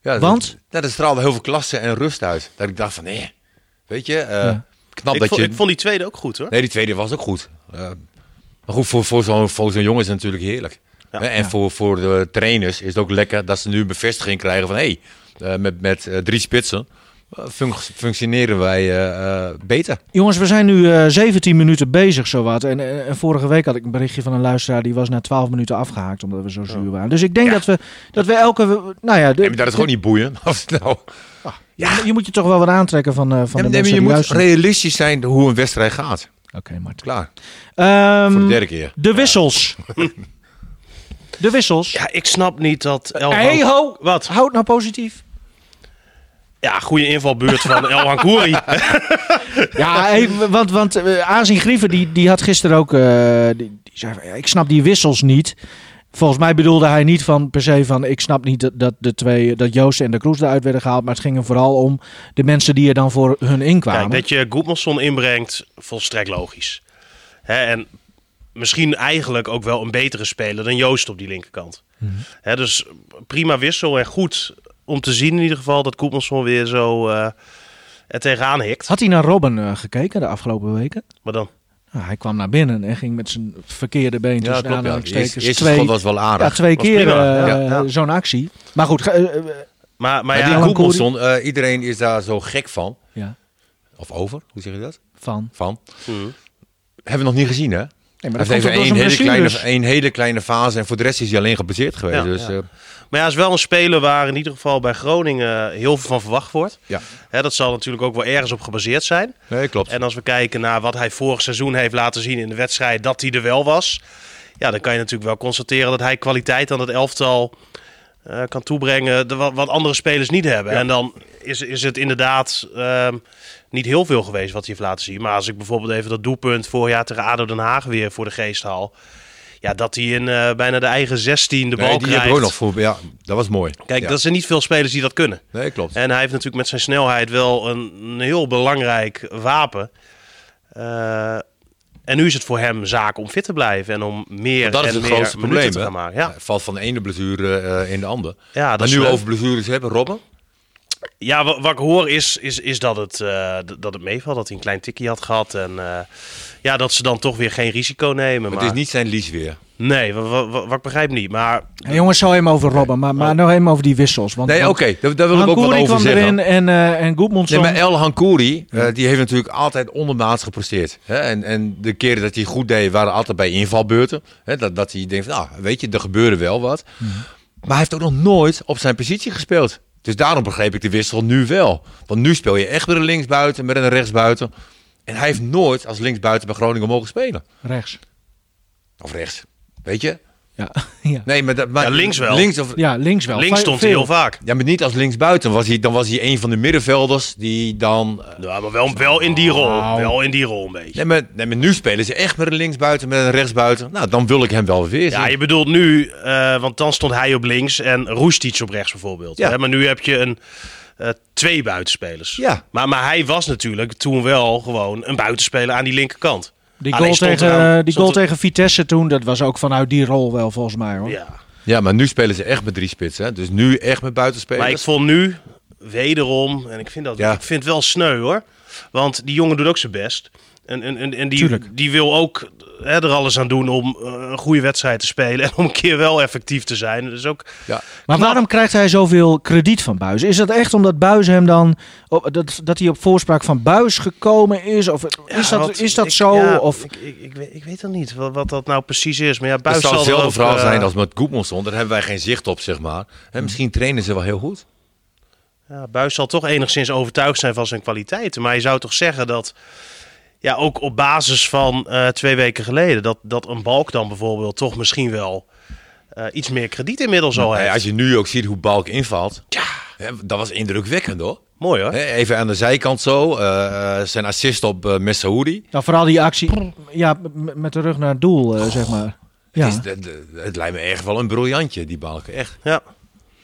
Speaker 3: Ja, dat-
Speaker 2: Want?
Speaker 3: Ja, dat straalde heel veel klasse en rust uit. Dat ik dacht van, nee. Weet je, eh,
Speaker 2: Ja.
Speaker 3: knap
Speaker 4: Ik
Speaker 3: dat
Speaker 4: vond,
Speaker 3: je...
Speaker 4: ik vond die tweede ook goed hoor.
Speaker 3: Nee, die tweede was ook goed. Eh, maar goed, voor, voor zo'n voor zo'n jongen is het natuurlijk heerlijk.
Speaker 4: Ja.
Speaker 3: Hè, en voor, voor de trainers is het ook lekker dat ze nu een bevestiging krijgen van... hé, hey, eh, met, met eh, drie spitsen eh, func- functioneren wij eh, eh, beter.
Speaker 2: Jongens, we zijn nu eh 17 minuten bezig, zowat. En, en, en vorige week had ik een berichtje van een luisteraar die was na 12 minuten afgehaakt omdat we zo
Speaker 3: Oh.
Speaker 2: zuur waren. Dus ik denk
Speaker 4: Ja.
Speaker 2: dat, we, dat we elke. Nou ja, de-
Speaker 3: Nee, maar dat is gewoon niet boeien. Of het nou...
Speaker 2: je, je moet je toch wel wat aantrekken van, eh, van de
Speaker 3: Nee, maar
Speaker 2: mensen
Speaker 3: je
Speaker 2: die
Speaker 3: moet
Speaker 2: luisteren.
Speaker 3: realistisch zijn hoe een wedstrijd gaat.
Speaker 2: Oké, Martin.
Speaker 3: Klaar,
Speaker 2: Ehm,
Speaker 3: voor de derde keer.
Speaker 2: de wissels. de wissels.
Speaker 4: Ja, ik snap niet dat
Speaker 3: Oh,
Speaker 4: El
Speaker 2: hey
Speaker 4: Hank-
Speaker 2: ho,
Speaker 4: Wat?
Speaker 2: houd nou positief.
Speaker 4: Ja, goede invalbeurt van El Hankouri.
Speaker 2: Ja, even, want, want eh, Azin Grieven die, die had gisteren ook. eh, die, die zei: van, ja, Ik snap die wissels niet. Volgens mij bedoelde hij niet van per se van ik snap niet dat, dat de twee dat Joost en de Kroes eruit werden gehaald, maar het ging er vooral om de mensen die er dan voor hun inkwamen.
Speaker 4: Kijk, dat je Goedmanson inbrengt, volstrekt logisch. Hè, en misschien eigenlijk ook wel een betere speler dan Joost op die linkerkant. Hè, dus prima wissel en goed om te zien in ieder geval dat Goedmanson weer zo eh er tegenaan hikt.
Speaker 2: Had hij naar Robin eh, gekeken de afgelopen weken?
Speaker 4: Maar dan,
Speaker 2: Nou, hij kwam naar binnen en ging met zijn verkeerde been
Speaker 3: Ja,
Speaker 2: tussen
Speaker 3: klopt. Ja. De
Speaker 2: Dus aanhalingstekens
Speaker 3: eerste, eerste
Speaker 2: twee,
Speaker 3: schot was wel
Speaker 2: ja,
Speaker 3: aardig.
Speaker 2: twee
Speaker 4: was
Speaker 2: keer
Speaker 4: prima.
Speaker 2: eh,
Speaker 3: Ja, ja.
Speaker 2: zo'n actie. Maar goed, ga- eh, eh,
Speaker 4: maar, maar
Speaker 3: Maar
Speaker 4: ja,
Speaker 3: die
Speaker 2: Alan
Speaker 3: Goedmanson, eh, iedereen is daar zo gek van.
Speaker 2: ja,
Speaker 3: Of over, hoe zeg je dat?
Speaker 2: van.
Speaker 3: Van.
Speaker 4: Mhm.
Speaker 3: Hebben we nog niet gezien, hè?
Speaker 2: Nee, maar
Speaker 3: Hij
Speaker 2: dat
Speaker 3: heeft
Speaker 2: komt ook door
Speaker 3: één
Speaker 2: zijn
Speaker 3: hele, kleine,
Speaker 2: blessures.
Speaker 3: één hele kleine fase en voor de rest is hij alleen gebaseerd geweest.
Speaker 4: Ja,
Speaker 3: dus, eh,
Speaker 4: Maar ja, is wel een speler waar in ieder geval bij Groningen eh, heel veel van verwacht wordt.
Speaker 3: ja.
Speaker 4: Hè, dat zal natuurlijk ook wel ergens op gebaseerd zijn.
Speaker 3: Nee, klopt.
Speaker 4: En als we kijken naar wat hij vorig seizoen heeft laten zien in de wedstrijd, dat hij er wel was. Ja, dan kan je natuurlijk wel constateren dat hij kwaliteit aan het elftal eh, kan toebrengen. de- wat, wat andere spelers niet hebben. En dan is, is het inderdaad ehm, niet heel veel geweest wat hij heeft laten zien. Maar als ik bijvoorbeeld even dat doelpunt vorig jaar tegen ADO Den Haag weer voor de geest haal. Ja, dat hij in eh, bijna de eigen 16 de bal
Speaker 3: Nee, die
Speaker 4: krijgt.
Speaker 3: hebben we ook nog voor. Ja, dat was mooi.
Speaker 4: Kijk,
Speaker 3: Ja.
Speaker 4: dat zijn niet veel spelers die dat kunnen.
Speaker 3: Nee, klopt.
Speaker 4: En hij heeft natuurlijk met zijn snelheid wel een, een heel belangrijk wapen. Eh, en nu is het voor hem zaak om fit te blijven en om meer
Speaker 3: Want dat is
Speaker 4: en
Speaker 3: het
Speaker 4: meer
Speaker 3: grootste
Speaker 4: minuten
Speaker 3: probleem.
Speaker 4: te
Speaker 3: hè?
Speaker 4: gaan maken. Ja,
Speaker 3: Hij valt van de ene blessure eh, in de andere.
Speaker 4: ja, dat
Speaker 3: maar
Speaker 4: is,
Speaker 3: nu we
Speaker 4: eh,
Speaker 3: over blessures hebben, Robben.
Speaker 4: ja wa- wat, ik hoor is, is, is dat, het, eh, d- dat het meevalt, dat hij een klein tikje had gehad. En eh, ja, dat ze dan toch weer geen risico nemen. Maar
Speaker 3: Het is niet zijn lies weer.
Speaker 4: Nee, wa- wa- wa- wat, ik begrijp niet. Maar
Speaker 2: Hey, jongens, zo even over Robben, maar, maar nog even over die wissels. Want,
Speaker 3: Nee, oké.
Speaker 2: want-
Speaker 3: Daar, daar wil ik ook wat
Speaker 2: Hankouri
Speaker 3: over
Speaker 2: kwam
Speaker 3: zeggen.
Speaker 2: erin en, eh en
Speaker 3: Nee,
Speaker 2: Goedmondsson.
Speaker 3: maar El Hankouri, eh, die heeft natuurlijk altijd ondermaats gepresteerd. Hè? En, en de keren dat hij goed deed, waren altijd bij invalbeurten. Hè? Dat, dat hij denkt, van, nou, weet je, er gebeurde wel wat.
Speaker 4: Mhm.
Speaker 3: Maar hij heeft ook nog nooit op zijn positie gespeeld. Dus daarom begreep ik de wissel nu wel. Want nu speel je echt met een linksbuiten, met een rechtsbuiten. En hij heeft nooit als linksbuiten bij Groningen mogen spelen.
Speaker 2: Rechts.
Speaker 3: Of rechts. Weet je?
Speaker 2: Ja, ja.
Speaker 3: Nee, maar, dat- maar
Speaker 4: Ja, links wel.
Speaker 3: Links of,
Speaker 2: ja links wel.
Speaker 4: Links
Speaker 2: Va-
Speaker 4: stond hij
Speaker 2: Nou, veel.
Speaker 4: heel vaak.
Speaker 3: Ja, maar niet als linksbuiten. Was hij, dan was hij een van de middenvelders die dan... eh,
Speaker 4: Ja, Nou, maar wel, wel in die rol. Wel in die rol een beetje.
Speaker 3: nee, maar, nee, maar nu spelen ze echt met een linksbuiten, met een rechtsbuiten. Nou, dan wil ik hem wel weer zien.
Speaker 4: Ja, je bedoelt nu, eh, want dan stond hij op links en Roestic op rechts bijvoorbeeld.
Speaker 3: Ja.
Speaker 4: Hè, maar nu heb je een, eh, twee buitenspelers.
Speaker 3: Ja.
Speaker 4: Maar, maar hij was natuurlijk toen wel gewoon een buitenspeler aan die linkerkant.
Speaker 2: Die
Speaker 4: Alleen
Speaker 2: goal,
Speaker 4: Ah, stond
Speaker 2: tegen, eh,
Speaker 4: er aan-
Speaker 2: die
Speaker 4: stond
Speaker 2: goal
Speaker 4: er-
Speaker 2: tegen Vitesse toen, dat was ook vanuit die rol wel volgens mij hoor.
Speaker 4: Ja.
Speaker 3: Ja, maar nu spelen ze echt met drie spitsen. Hè? Dus nu echt met
Speaker 4: Maar ik
Speaker 3: buitenspelers.
Speaker 4: vond nu wederom, en ik vind dat
Speaker 3: Ja.
Speaker 4: ik vind het wel sneu hoor. Want die jongen doet ook zijn best. En, en, en, en die,
Speaker 2: Tuurlijk.
Speaker 4: die wil ook eh, hè, er alles aan doen om eh, een goede wedstrijd te spelen. En om een keer wel effectief te zijn. Dus ook,
Speaker 3: Ja.
Speaker 2: Maar waarom krijgt hij zoveel krediet van Buis? Is dat echt omdat Buis hem dan op- dat, dat hij op voorspraak van Buis gekomen is? Of is
Speaker 4: Ja,
Speaker 2: dat,
Speaker 4: wat-
Speaker 2: is dat
Speaker 4: ik-
Speaker 2: zo?
Speaker 4: ja,
Speaker 2: of,
Speaker 4: ik, ik, ik, weet, ik weet dan niet wat, wat dat nou precies is. Maar ja,
Speaker 3: Het
Speaker 4: Buis
Speaker 3: zou
Speaker 4: zal er
Speaker 3: hetzelfde
Speaker 4: ook,
Speaker 3: verhaal
Speaker 4: eh,
Speaker 3: zijn als met Goedmanson. Daar hebben wij geen zicht op, zeg maar. En misschien trainen ze wel heel goed.
Speaker 4: Ja, Buis zal toch enigszins overtuigd zijn van zijn kwaliteiten. Maar je zou toch zeggen dat. Ja, ook op basis van eh, twee weken geleden. Dat, dat een balk dan bijvoorbeeld toch misschien wel. eh, iets meer krediet inmiddels al
Speaker 3: Nou ja,
Speaker 4: heeft.
Speaker 3: als je nu ook ziet hoe Balk invalt. hè, dat was indrukwekkend hoor.
Speaker 4: Mooi hoor.
Speaker 3: Hè, Even aan de zijkant zo. eh, eh, zijn assist op eh Messaoudi.
Speaker 2: nou, vooral die actie ja, m- met de rug naar het doel, eh, zeg maar. Ja.
Speaker 3: Het, is- de- de- het lijkt me echt wel een briljantje, die Balk. Echt.
Speaker 4: Ja.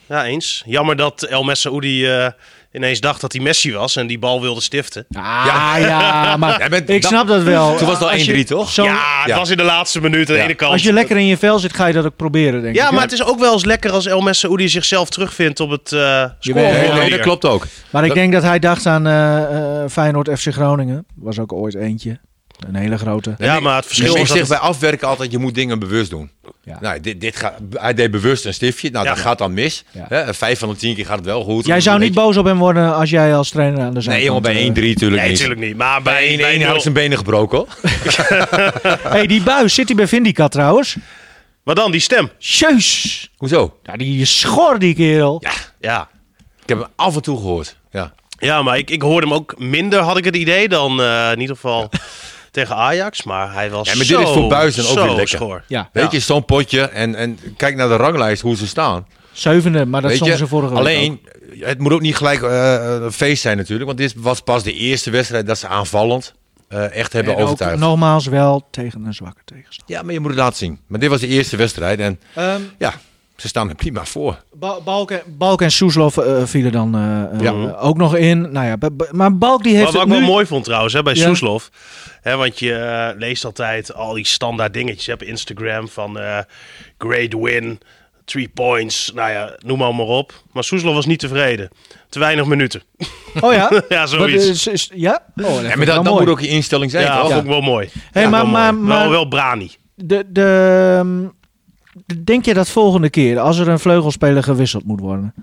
Speaker 4: ja, eens. Jammer dat El Messaoudi eh ineens dacht dat hij Messi was. en die bal wilde stiften.
Speaker 2: Ah,
Speaker 3: Ja.
Speaker 2: ja, maar
Speaker 3: Jij bent-
Speaker 2: ik
Speaker 3: dat-
Speaker 2: snap dat wel.
Speaker 3: Toen was het al
Speaker 2: Als je
Speaker 3: 1-3, toch?
Speaker 2: zo-
Speaker 4: ja, het
Speaker 3: Ja.
Speaker 4: was in de laatste minuut aan
Speaker 3: Ja.
Speaker 4: de ene kant.
Speaker 2: Als je lekker in je vel zit, ga je dat ook proberen, denk
Speaker 4: Ja,
Speaker 2: ik.
Speaker 4: maar het is ook wel eens lekker als El Messaoudi zichzelf terugvindt op het eh
Speaker 2: Jawel.
Speaker 3: Nee,
Speaker 4: scorebord.
Speaker 3: nee, dat klopt ook.
Speaker 2: Maar ik
Speaker 3: Dat-
Speaker 2: denk dat hij dacht aan eh, eh, Feyenoord FC Groningen. Was ook ooit eentje. Een hele grote.
Speaker 4: Ja, maar het verschil
Speaker 3: Dus ik
Speaker 4: is dat...
Speaker 3: zeg
Speaker 4: het-
Speaker 3: bij afwerken altijd, je moet dingen bewust doen.
Speaker 2: Ja.
Speaker 3: Nou, dit, dit gaat, hij deed bewust een stiftje. Nou,
Speaker 4: Ja.
Speaker 3: dat gaat dan mis.
Speaker 2: Ja.
Speaker 3: Hè, vijf van de tien keer gaat het wel goed.
Speaker 2: Jij zou
Speaker 3: Een
Speaker 2: niet
Speaker 3: beetje-
Speaker 2: boos op hem worden als jij als trainer aan de zijkant...
Speaker 3: Nee, jongen, bij 1-3
Speaker 2: eh,
Speaker 3: natuurlijk
Speaker 4: Nee,
Speaker 3: niet.
Speaker 4: natuurlijk niet. Maar bij,
Speaker 3: Bij 1-1
Speaker 4: bij
Speaker 3: had ik
Speaker 4: nul-
Speaker 3: zijn benen gebroken hoor.
Speaker 2: hey, die buis, zit hij bij Vindicat trouwens?
Speaker 4: Maar dan die stem.
Speaker 2: Jeus!
Speaker 3: Hoezo?
Speaker 2: Ja, die schor, die kerel.
Speaker 3: Ja,
Speaker 4: Ja,
Speaker 3: ik heb hem af en toe gehoord. Ja.
Speaker 4: ja maar ik, ik hoorde hem ook minder, had ik het idee, dan eh, in ieder geval tegen Ajax. Maar hij was
Speaker 3: Ja, maar dit
Speaker 4: zo,
Speaker 3: is voor Buijs dan ook
Speaker 4: zo
Speaker 3: weer lekker.
Speaker 4: Schoor.
Speaker 2: Ja.
Speaker 3: Weet je, zo'n potje en, en kijk naar de ranglijst hoe ze staan.
Speaker 2: Zevende, maar dat
Speaker 3: Weet
Speaker 2: stonden
Speaker 3: je,
Speaker 2: ze vorige week ook.
Speaker 3: alleen, het moet ook niet gelijk eh, een feest zijn natuurlijk. Want dit was pas de eerste wedstrijd dat ze aanvallend eh, echt hebben
Speaker 2: En ook
Speaker 3: overtuigd.
Speaker 2: nogmaals wel tegen een zwakke tegenstander.
Speaker 3: Ja, maar je moet het laten zien. Maar dit was de eerste wedstrijd en ja, ze staan er prima voor.
Speaker 2: Ba- Balk, en- Balk en Soeslof eh, vielen dan eh, eh,
Speaker 3: Ja.
Speaker 2: ook nog in. Nou ja, ba- ba- maar Balk die heeft
Speaker 4: Maar wat ik
Speaker 2: het
Speaker 4: wel
Speaker 2: nu...
Speaker 4: mooi vond trouwens, hè, bij
Speaker 2: Ja.
Speaker 4: Soeslof. Hè, want je eh, leest altijd al die standaard dingetjes hè, op Instagram van eh, great win, three points, nou ja, noem maar, maar op. Maar Soeslof was niet tevreden. Te weinig minuten.
Speaker 2: Oh ja?
Speaker 4: Ja,
Speaker 2: Wat
Speaker 4: zoiets.
Speaker 2: is- is- ja? Oh, dat
Speaker 3: Ja,
Speaker 2: vind
Speaker 3: maar
Speaker 2: ik wel
Speaker 3: dat, dat
Speaker 2: mooi.
Speaker 3: moet ook je instelling zijn.
Speaker 4: ja,
Speaker 3: toch?
Speaker 4: vond ik wel mooi.
Speaker 2: Hey,
Speaker 4: Ja,
Speaker 2: maar-
Speaker 4: wel mooi.
Speaker 2: maar- maar-
Speaker 4: wel, wel brani.
Speaker 2: De, de, ehm, de- denk je dat volgende keer, als er een vleugelspeler gewisseld moet worden?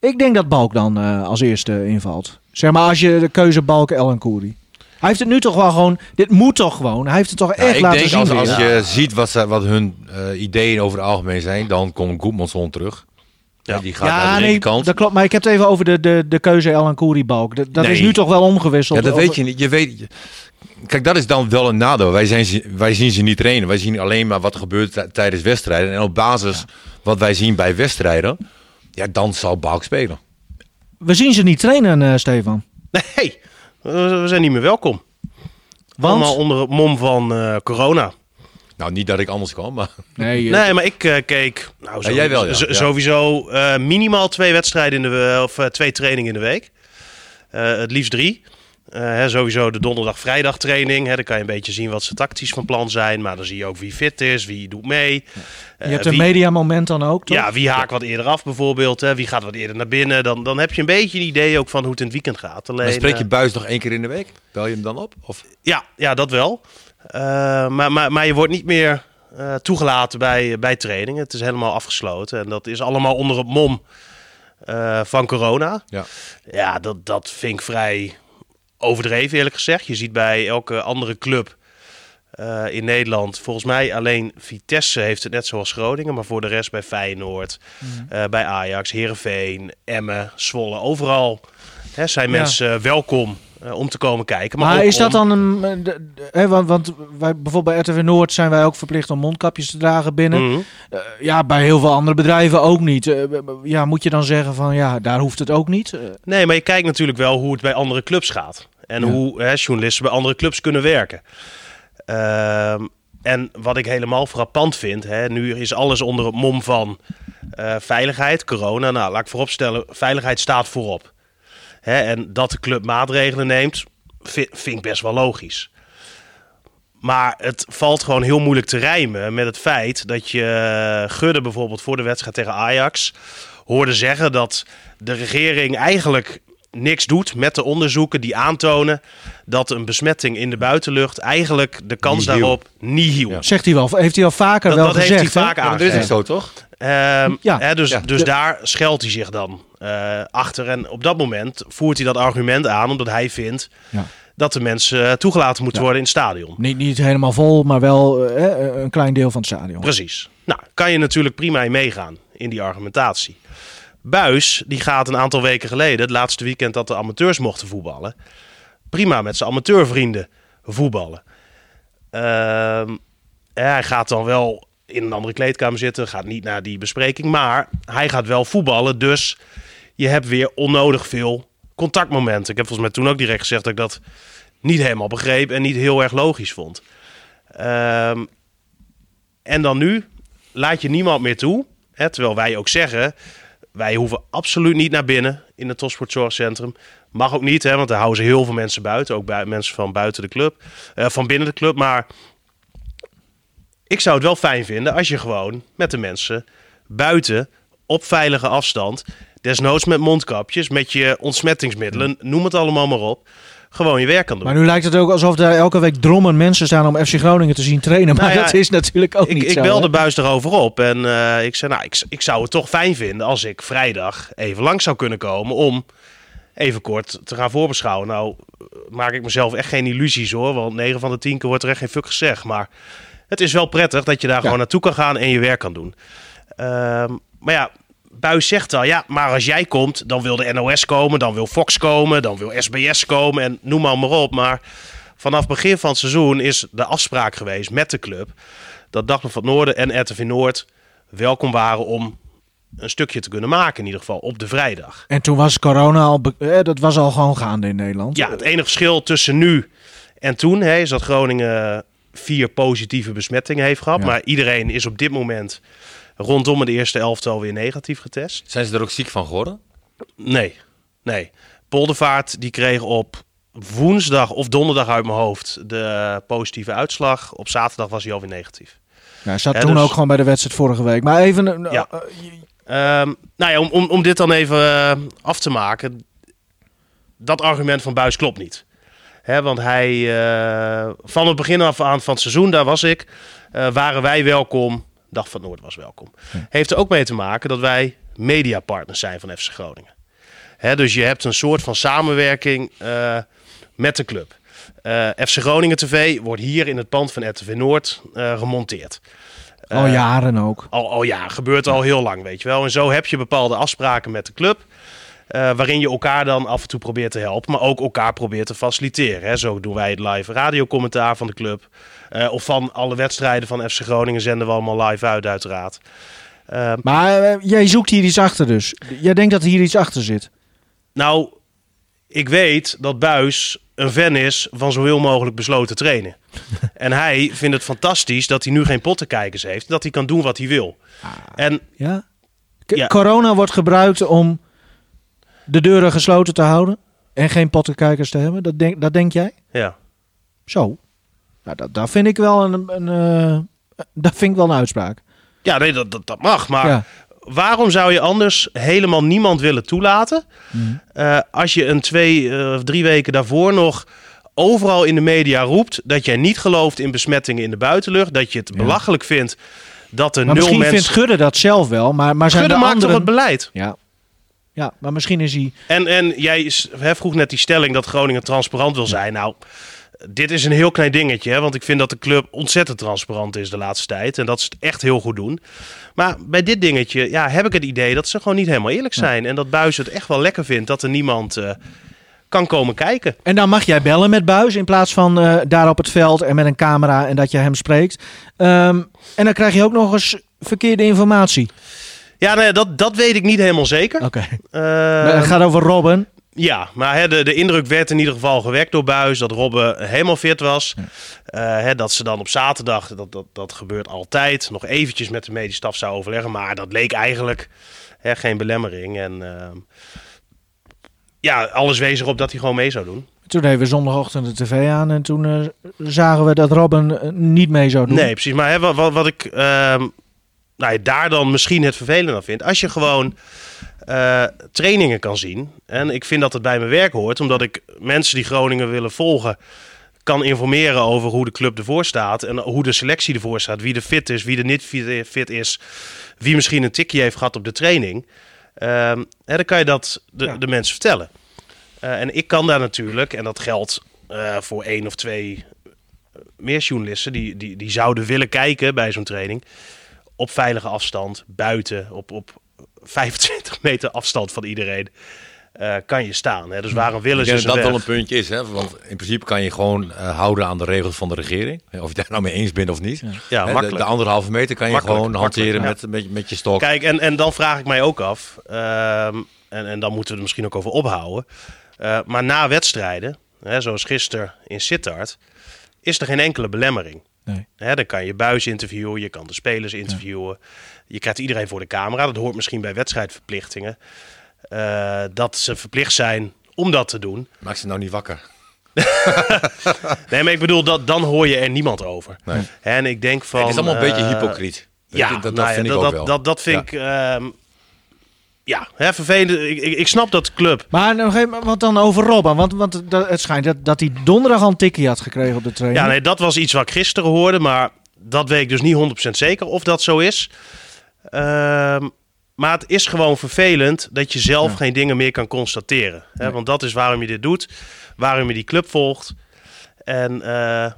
Speaker 2: Ik denk dat Balk dan eh, als eerste invalt. Zeg maar als je de keuze Balk, El en Koeri. Hij heeft het nu toch wel gewoon... Dit moet toch gewoon? Hij heeft het toch
Speaker 3: Ja,
Speaker 2: echt
Speaker 3: Nou, ik
Speaker 2: laten
Speaker 3: denk
Speaker 2: zien
Speaker 3: als,
Speaker 2: weer?
Speaker 3: als je ziet wat, ze- wat hun eh, ideeën over het algemeen zijn, dan komt Goedmanson terug.
Speaker 4: Ja.
Speaker 3: Ja. Die gaat
Speaker 2: Ja,
Speaker 3: naar de
Speaker 2: nee,
Speaker 3: linkerkant.
Speaker 2: dat klopt. Maar ik heb het even over de, de, de keuze El en Koeri Balk. Dat, dat
Speaker 3: Nee.
Speaker 2: is nu toch wel omgewisseld?
Speaker 3: Ja, dat
Speaker 2: Of-
Speaker 3: weet je niet. Je weet, je- kijk, dat is dan wel een nadeel. Wij, zijn, ze- wij zien ze niet trainen. Wij zien alleen maar wat er gebeurt tij- tijdens wedstrijden. En op basis wat wij zien bij wedstrijden, ja, dan zal Balk spelen.
Speaker 2: We zien ze niet trainen, eh, Stefan.
Speaker 4: Nee, we we zijn niet meer welkom.
Speaker 2: Want?
Speaker 4: Allemaal onder het mom van eh, corona.
Speaker 3: Nou, niet dat ik anders kan, maar
Speaker 2: Nee,
Speaker 4: Nee, maar ik eh, keek nou, sowieso,
Speaker 3: jij wel, ja.
Speaker 4: zo-
Speaker 3: Ja.
Speaker 4: sowieso eh, minimaal twee wedstrijden in de we- of eh, twee trainingen in de week. Eh, het liefst drie. Eh, hè, sowieso de donderdag-vrijdag training. Hè, dan kan je een beetje zien wat ze tactisch van plan zijn. Maar dan zie je ook wie fit is, wie doet mee.
Speaker 2: je hebt
Speaker 4: Eh,
Speaker 2: een
Speaker 4: wie-
Speaker 2: mediamoment dan ook, toch?
Speaker 4: Ja, wie haakt wat eerder af bijvoorbeeld. Hè, wie gaat wat eerder naar binnen. Dan, dan heb je een beetje een idee ook van hoe het in het weekend gaat. Alleen,
Speaker 3: dan spreek je
Speaker 4: eh,
Speaker 3: Buis nog één keer in de week. Bel je hem dan op? Of?
Speaker 4: Ja, ja dat wel. Eh, maar, maar, maar je wordt niet meer eh, toegelaten bij, bij trainingen. Het is helemaal afgesloten. En dat is allemaal onder het mom eh, van corona.
Speaker 3: Ja.
Speaker 4: Ja, dat, dat vind ik vrij overdreven eerlijk gezegd. Je ziet bij elke andere club eh, in Nederland... volgens mij alleen Vitesse heeft het net zoals Groningen... maar voor de rest bij Feyenoord,
Speaker 2: Mm.
Speaker 4: eh, bij Ajax, Heerenveen, Emmen, Zwolle... overal hè, zijn
Speaker 2: Ja.
Speaker 4: mensen welkom eh, om te komen kijken. Maar,
Speaker 2: Maar,
Speaker 4: ook
Speaker 2: is dat
Speaker 4: om-
Speaker 2: dan een. eh, de- de- hè, want, want wij, bijvoorbeeld bij RTV Noord zijn wij ook verplicht om mondkapjes te dragen binnen.
Speaker 4: Mhm.
Speaker 2: Eh, ja, bij heel veel andere bedrijven ook niet. Eh, b- b- ja, moet je dan zeggen van ja, daar hoeft het ook niet. Eh,
Speaker 4: Nee, maar je kijkt natuurlijk wel hoe het bij andere clubs gaat. En
Speaker 2: Ja.
Speaker 4: hoe hè, journalisten bij andere clubs kunnen werken. Ehm, en wat ik helemaal frappant vind, hè, nu is alles onder het mom van eh, veiligheid, corona. Nou, laat ik vooropstellen, veiligheid staat voorop. Hè, en dat de club maatregelen neemt, vi- vind ik best wel logisch. Maar het valt gewoon heel moeilijk te rijmen met het feit dat je eh, Gudde bijvoorbeeld voor de wedstrijd tegen Ajax hoorde zeggen dat de regering eigenlijk niks doet met de onderzoeken die aantonen dat een besmetting in de buitenlucht eigenlijk de kans
Speaker 3: Nihil.
Speaker 4: daarop niet hield.
Speaker 2: Zegt hij wel, heeft hij al vaker
Speaker 4: Dat,
Speaker 2: wel
Speaker 4: dat
Speaker 2: gezegd.
Speaker 4: heeft hij
Speaker 2: hè?
Speaker 4: vaak
Speaker 3: Ja, maar dat is
Speaker 4: aangegeven.
Speaker 3: echt zo, toch?
Speaker 4: Ehm,
Speaker 2: Ja.
Speaker 4: hè, dus
Speaker 3: Ja.
Speaker 4: dus
Speaker 2: Ja.
Speaker 4: daar schuilt hij zich dan eh, achter. En op dat moment voert hij dat argument aan, omdat hij vindt
Speaker 2: Ja.
Speaker 4: dat de mensen eh, toegelaten moeten worden in het stadion.
Speaker 2: Niet, niet helemaal vol, maar wel eh, eh, een klein deel van het stadion.
Speaker 4: Precies. Nou, kan je natuurlijk prima in meegaan in die argumentatie. Buis, die gaat een aantal weken geleden, het laatste weekend dat de amateurs mochten voetballen, prima met zijn amateurvrienden voetballen. Ehm, hè, hij gaat dan wel in een andere kleedkamer zitten, gaat niet naar die bespreking, maar hij gaat wel voetballen, dus je hebt weer onnodig veel contactmomenten. Ik heb volgens mij toen ook direct gezegd dat ik dat niet helemaal begreep en niet heel erg logisch vond. Ehm, en dan nu laat je niemand meer toe. Hè, terwijl wij ook zeggen, wij hoeven absoluut niet naar binnen in het Topsportzorgcentrum. Mag ook niet, hè, want daar houden ze heel veel mensen buiten. Ook bui- mensen van buiten de club, eh, van binnen de club. Maar ik zou het wel fijn vinden als je gewoon met de mensen buiten op veilige afstand, desnoods met mondkapjes, met je ontsmettingsmiddelen, noem het allemaal maar op, gewoon je werk kan doen.
Speaker 2: Maar nu lijkt het ook alsof daar elke week drommen mensen staan om FC Groningen te zien trainen. Maar
Speaker 4: Nou ja,
Speaker 2: dat is natuurlijk ook
Speaker 4: ik,
Speaker 2: niet
Speaker 4: ik
Speaker 2: zo.
Speaker 4: belde
Speaker 2: hè?
Speaker 4: Buis erover op en eh, ik zei, nou, ik, ik zou het toch fijn vinden als ik vrijdag even langs zou kunnen komen om even kort te gaan voorbeschouwen. Nou, eh, maak ik mezelf echt geen illusies hoor, want 9 van de 10 keer wordt er echt geen fuck gezegd. Maar het is wel prettig dat je daar gewoon naartoe kan gaan en je werk kan doen. Ehm, maar ja, Buis zegt al, ja, maar als jij komt, dan wil de NOS komen, dan wil Fox komen, dan wil SBS komen en noem maar, maar op. Maar vanaf begin van het seizoen is de afspraak geweest met de club dat Dagblad van het Noorden en RTV Noord welkom waren om een stukje te kunnen maken in ieder geval op de vrijdag.
Speaker 2: En toen was corona al, be- eh, dat was al gewoon gaande in Nederland.
Speaker 4: Ja, het enige verschil tussen nu en toen hè, is dat Groningen vier positieve besmettingen heeft gehad.
Speaker 2: Ja.
Speaker 4: Maar iedereen is op dit moment rondom de eerste elftal weer negatief getest.
Speaker 3: Zijn ze er ook ziek van geworden?
Speaker 4: Nee, nee. Poldervaart die kreeg op woensdag of donderdag uit mijn hoofd de positieve uitslag. Op zaterdag was hij alweer negatief.
Speaker 2: Ja, hij Nou, zat
Speaker 4: Ja,
Speaker 2: toen
Speaker 4: dus-
Speaker 2: ook gewoon bij de wedstrijd vorige week. Maar even, eh,
Speaker 4: Ja.
Speaker 2: eh,
Speaker 4: Ehm, nou ja, om, om, om dit dan even eh, af te maken. Dat argument van Buis klopt niet. Hè, want hij, eh, van het begin af aan van het seizoen, daar was ik, eh, waren wij welkom. Dag van het Noord was welkom. Heeft er ook mee te maken dat wij mediapartners zijn van FC Groningen. Hè, dus je hebt een soort van samenwerking eh, met de club. Eh, FC Groningen TV wordt hier in het pand van RTV Noord eh, gemonteerd.
Speaker 2: al
Speaker 4: Eh.
Speaker 2: jaren ook.
Speaker 4: Al, al ja, gebeurt al heel lang, weet je wel. En zo heb je bepaalde afspraken met de club. eh, waarin je elkaar dan af en toe probeert te helpen, maar ook elkaar probeert te faciliteren. Hè. Zo doen wij het live radiocommentaar van de club. eh, of van alle wedstrijden van FC Groningen zenden we allemaal live uit, uiteraard. Eh,
Speaker 2: Maar eh, jij zoekt hier iets achter dus. Jij denkt dat hier iets achter zit.
Speaker 4: nou, ik weet dat Buis een fan is van zo heel mogelijk besloten trainen. en hij vindt het fantastisch dat hij nu geen pottenkijkers heeft. Dat hij kan doen wat hij wil. En
Speaker 2: Ja? K-
Speaker 4: Ja.
Speaker 2: Corona wordt gebruikt om de deuren gesloten te houden en geen pottenkijkers te hebben. Dat denk, dat denk jij?
Speaker 4: ja.
Speaker 2: Zo. Nou, dat, dat vind ik wel een, een, eh, dat vind ik wel een uitspraak.
Speaker 4: Ja, nee, dat, dat, dat mag. Maar
Speaker 2: Ja.
Speaker 4: waarom zou je anders helemaal niemand willen toelaten?
Speaker 2: Hmm.
Speaker 4: eh, als je een twee eh, of drie weken daarvoor nog overal in de media roept dat jij niet gelooft in besmettingen in de buitenlucht. Dat je het belachelijk vindt dat er
Speaker 2: Maar
Speaker 4: nul
Speaker 2: Nou, misschien
Speaker 4: mensen.
Speaker 2: vindt Gudde dat zelf wel, maar, maar zijn
Speaker 4: Gudde
Speaker 2: de
Speaker 4: maakt toch
Speaker 2: anderen...
Speaker 4: het beleid.
Speaker 2: ja. ja, maar misschien is hij...
Speaker 4: En, en jij is- hè, vroeg net die stelling dat Groningen transparant wil zijn. Nou, dit is een heel klein dingetje. Hè, want ik vind dat de club ontzettend transparant is de laatste tijd. En dat ze het echt heel goed doen. Maar bij dit dingetje ja, heb ik het idee dat ze gewoon niet helemaal eerlijk zijn. En dat Buis het echt wel lekker vindt dat er niemand eh, kan komen kijken.
Speaker 2: En dan mag jij bellen met Buis in plaats van eh, daar op het veld en met een camera en dat je hem spreekt. Ehm, en dan krijg je ook nog eens verkeerde informatie.
Speaker 4: Ja, nou ja, dat, dat weet ik niet helemaal zeker.
Speaker 2: Oké.
Speaker 4: Eh,
Speaker 2: Maar het gaat over Robben.
Speaker 4: Ja, maar hè, de, de indruk werd in ieder geval gewekt door Buis dat Robben helemaal fit was. Eh, hè, dat ze dan op zaterdag, dat, dat, dat gebeurt altijd, nog eventjes met de medische staf zou overleggen. Maar dat leek eigenlijk hè, geen belemmering. En ehm, ja, alles wees erop dat hij gewoon mee zou doen.
Speaker 2: Toen deden we zondagochtend de tv aan en toen eh, zagen we dat Robben eh, niet mee zou doen.
Speaker 4: Nee, precies. Maar hè, wat, wat, wat ik ehm, nou ja, daar dan misschien het vervelend aan vind. Als je gewoon eh, trainingen kan zien. En ik vind dat het bij mijn werk hoort. Omdat ik mensen die Groningen willen volgen. kan informeren over hoe de club ervoor staat. En hoe de selectie ervoor staat. Wie er fit is, wie er niet fit- fit is. Wie misschien een tikje heeft gehad op de training. Ehm, hè, dan kan je dat de,
Speaker 2: Ja.
Speaker 4: de mensen vertellen. Eh, en ik kan daar natuurlijk, en dat geldt eh, voor één of twee eh, meer journalisten die, die, die zouden willen kijken bij zo'n training. Op veilige afstand, buiten, op, op 25 meter afstand van iedereen. eh, kan je staan. Hè? Dus waarom willen
Speaker 3: Hm. Ik
Speaker 4: ze
Speaker 3: denk dat
Speaker 4: ze
Speaker 3: dat wel een
Speaker 4: weg?
Speaker 3: puntje is, hè? want in principe kan je gewoon eh, houden aan de regels van de regering. Of je daar nou mee eens bent of niet. Hè, de-
Speaker 4: makkelijk.
Speaker 3: de, anderhalve meter kan je
Speaker 4: Makkelijk,
Speaker 3: gewoon
Speaker 4: makkelijk,
Speaker 3: hanteren
Speaker 4: ja.
Speaker 3: met, met, met je stok.
Speaker 4: Kijk, en, en dan vraag ik mij ook af, ehm, en, en dan moeten we er misschien ook over ophouden. eh, maar na wedstrijden, hè, zoals gisteren in Sittard, is er geen enkele belemmering.
Speaker 2: Nee.
Speaker 4: Hè, dan kan je buis interviewen, je kan de spelers interviewen. Je krijgt iedereen voor de camera. Dat hoort misschien bij wedstrijdverplichtingen. eh, dat ze verplicht zijn om dat te doen.
Speaker 3: Maak ze nou niet wakker.
Speaker 4: Nee, maar ik bedoel, dat, dan hoor je er niemand over.
Speaker 3: Nee.
Speaker 4: En ik denk van...
Speaker 3: het is allemaal een beetje
Speaker 4: eh,
Speaker 3: hypocriet. Weet
Speaker 4: Ja,
Speaker 3: je, dat, dat
Speaker 4: nou ja,
Speaker 3: vind ik
Speaker 4: dat,
Speaker 3: ook
Speaker 4: dat,
Speaker 3: wel.
Speaker 4: Dat, dat vind
Speaker 3: Ja.
Speaker 4: ik... ehm, ja, hè, vervelend. Ik, ik, ik snap dat de club.
Speaker 2: Maar nog even, wat dan over Robben? Want, want dat- het schijnt dat, dat hij donderdag al een tikkie had gekregen op de training.
Speaker 4: Ja, nee, dat was iets wat ik gisteren hoorde, maar dat weet ik dus niet 100% zeker of dat zo is. Ehm, maar het is gewoon vervelend dat je zelf geen dingen meer kan constateren. Hè? Want dat is waarom je dit doet, waarom je die club volgt. En eh,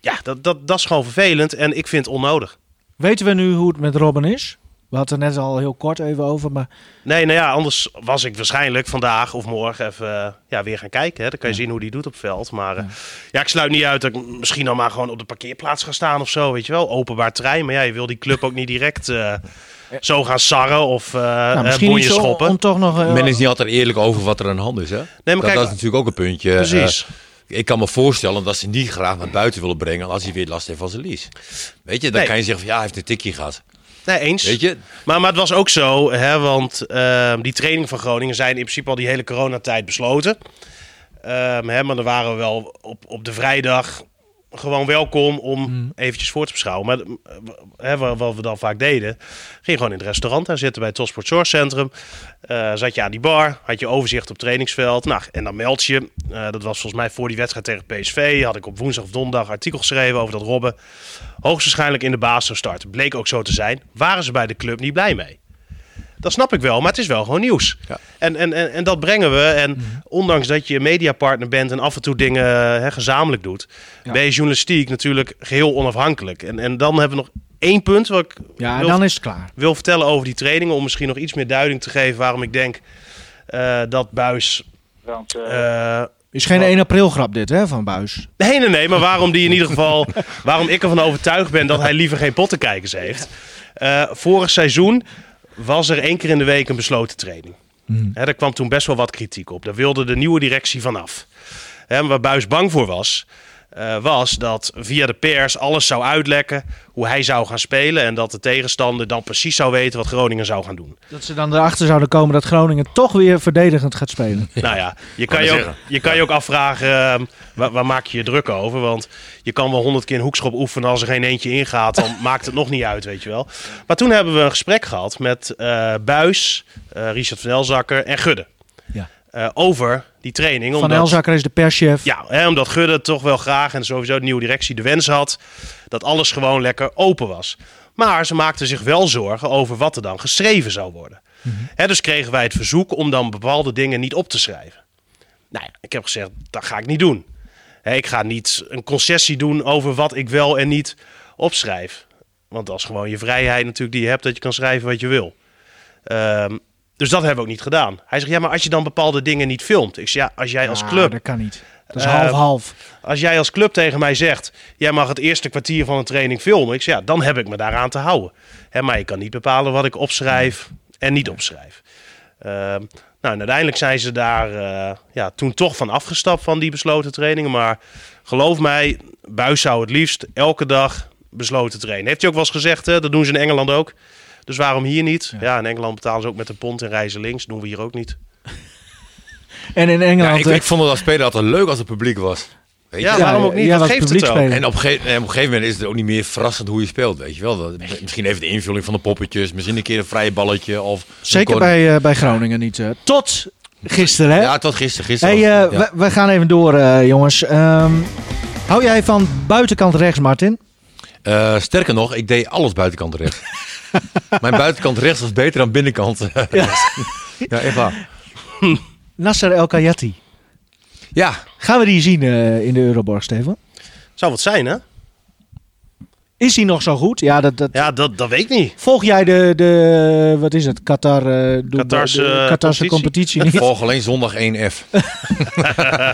Speaker 4: ja, dat, dat, dat is gewoon vervelend en ik vind het onnodig.
Speaker 2: Weten we nu hoe het met Robben is? We hadden het er net al heel kort even over, maar
Speaker 4: Nee, nou ja, anders was ik waarschijnlijk vandaag of morgen even eh, ja, weer gaan kijken. Hè. Dan kan je zien hoe die doet op het veld. Maar eh, ja. ik sluit niet uit dat ik m- misschien dan maar gewoon op de parkeerplaats ga staan of zo. Weet je wel, openbaar terrein. Maar ja, je wil die club ook niet direct eh, zo gaan sarren of eh
Speaker 2: nou,
Speaker 4: eh,
Speaker 2: misschien
Speaker 4: bonje
Speaker 2: iets om,
Speaker 4: schoppen.
Speaker 2: om toch nog... eh,
Speaker 3: Men is niet altijd eerlijk over wat er aan de hand is. Hè?
Speaker 4: maar
Speaker 3: dat,
Speaker 4: kijk,
Speaker 3: dat is natuurlijk ook een puntje.
Speaker 4: Precies.
Speaker 3: Eh, ik kan me voorstellen dat ze niet graag naar buiten willen brengen als hij weer last heeft van zijn lies. Weet je, dan
Speaker 4: Nee.
Speaker 3: kan je zeggen van ja, hij heeft een tikje gehad.
Speaker 4: Nee, eens.
Speaker 3: Weet je,
Speaker 4: Maar, maar het was ook zo, hè, want ehm, die trainingen van Groningen zijn in principe al die hele coronatijd besloten. Ehm, hè, maar dan waren we wel op, op de vrijdag gewoon welkom om eventjes voor te beschouwen. Maar eh, hè, wa- wat we dan vaak deden, ging gewoon in het restaurant daar zitten bij het Topsport Source Centrum. Eh, zat je aan die bar, had je overzicht op het trainingsveld. Nou, en dan meld je, eh, dat was volgens mij voor die wedstrijd tegen PSV, had ik op woensdag of donderdag artikel geschreven over dat Robben hoogstwaarschijnlijk in de baas zou starten. Bleek ook zo te zijn. Waren ze bij de club niet blij mee? Dat snap ik wel, maar het is wel gewoon nieuws.
Speaker 3: Ja.
Speaker 4: En, en, en, en dat brengen we. En
Speaker 2: Mhm.
Speaker 4: ondanks dat je mediapartner bent en af en toe dingen eh, hè, gezamenlijk doet, ben je journalistiek natuurlijk geheel onafhankelijk. En, en dan hebben we nog één punt wat ik
Speaker 2: ja,
Speaker 4: wil,
Speaker 2: dan is het klaar.
Speaker 4: wil vertellen over die trainingen. Om misschien nog iets meer duiding te geven waarom ik denk eh, dat Buis.
Speaker 5: Want eh,
Speaker 4: eh,
Speaker 2: is geen 1 april grap dit, hè, van Buis.
Speaker 4: Nee, nee, nee. Maar waarom die in ieder geval. Waarom ik ervan overtuigd ben dat hij liever geen pottenkijkers heeft. Eh, vorig seizoen was er één keer in de week een besloten training. Hè, daar kwam toen best wel wat kritiek op. Daar wilde de nieuwe directie vanaf. Hè, maar waar Buis bang voor was. eh, was dat via de pers alles zou uitlekken hoe hij zou gaan spelen. En dat de tegenstander dan precies zou weten wat Groningen zou gaan doen.
Speaker 2: Dat ze dan erachter zouden komen dat Groningen toch weer verdedigend gaat spelen.
Speaker 4: Nou ja, je kan je, ook, je, kan je ook afvragen ehm, waar, waar maak je je druk over? Want je kan wel honderd keer een hoekschop oefenen. Als er geen eentje ingaat, dan maakt het nog niet uit, weet je wel. Maar toen hebben we een gesprek gehad met eh, Buis, eh, Richard van Elzakker en Gudde.
Speaker 2: Ja.
Speaker 4: Eh, over die training.
Speaker 2: Van
Speaker 4: omdat-
Speaker 2: Elzakker is de perschef.
Speaker 4: ja, hè, omdat Gudde toch wel graag en sowieso de nieuwe directie de wens had dat alles gewoon lekker open was. Maar ze maakten zich wel zorgen over wat er dan geschreven zou worden. Hè, dus kregen wij het verzoek om dan bepaalde dingen niet op te schrijven. Nou ja, ik heb gezegd, dat ga ik niet doen. Hè, ik ga niet een concessie doen over wat ik wel en niet opschrijf. Want dat is gewoon je vrijheid natuurlijk die je hebt dat je kan schrijven wat je wil. Ehm, Dus dat hebben we ook niet gedaan. Hij zegt, ja, maar als je dan bepaalde dingen niet filmt. Ik zeg, ja, als jij als
Speaker 2: Ja,
Speaker 4: club
Speaker 2: Ah, Dat kan niet. Dat is
Speaker 4: Eh,
Speaker 2: half-half.
Speaker 4: Als jij als club tegen mij zegt, jij mag het eerste kwartier van een training filmen. Ik zeg, ja, dan heb ik me daaraan te houden. Hè, maar ik kan niet bepalen wat ik opschrijf en niet opschrijf. Ehm, nou, en uiteindelijk zijn ze daar eh, ja, toen toch van afgestapt van die besloten trainingen. Maar geloof mij, Buis zou het liefst elke dag besloten trainen. Heeft hij ook wel eens gezegd, hè, dat doen ze in Engeland ook. Dus waarom hier niet? Ja, in Engeland betalen ze ook met de pond en reizen links. Doen we hier ook niet.
Speaker 2: En in
Speaker 3: Ja,
Speaker 2: Engeland. eh,
Speaker 3: ik, ik vond het als speler altijd leuk als het publiek was. Weet je?
Speaker 4: Ja, waarom ook niet?
Speaker 2: ja,
Speaker 4: Dat
Speaker 2: was
Speaker 4: geeft het
Speaker 2: publiek
Speaker 4: ook.
Speaker 2: spelen.
Speaker 3: En op, een gege- en op een gegeven moment is het ook niet meer verrassend hoe je speelt, weet je wel. Dat- misschien even de invulling van de poppetjes, misschien een keer een vrije balletje. Of een
Speaker 2: Zeker
Speaker 3: corner.
Speaker 2: bij, eh, bij Groningen niet. eh. tot gisteren, hè?
Speaker 3: Ja, tot gisteren.
Speaker 2: hey,
Speaker 3: gisteren
Speaker 2: eh,
Speaker 3: was- ja.
Speaker 2: we, we gaan even door, eh, jongens. Ehm, hou jij van buitenkant rechts, Martin?
Speaker 3: Eh, sterker nog, ik deed alles buitenkant rechts. Mijn buitenkant rechts was beter dan binnenkant. ja. ja, echt waar.
Speaker 2: Nasser El Kayati.
Speaker 3: Ja,
Speaker 2: Gaan we die zien eh, in de Euroborg, Steven?
Speaker 4: Zou wat zijn, hè?
Speaker 2: Is hij nog zo goed? Ja, dat, dat...
Speaker 4: Ja, dat, dat weet ik niet.
Speaker 2: Volg jij de, de, wat is het, Qatar, eh Dubai-
Speaker 4: Qatarse,
Speaker 2: de
Speaker 4: eh,
Speaker 2: Qatarse competitie?
Speaker 4: competitie?
Speaker 2: niet?
Speaker 3: volg alleen zondag 1F.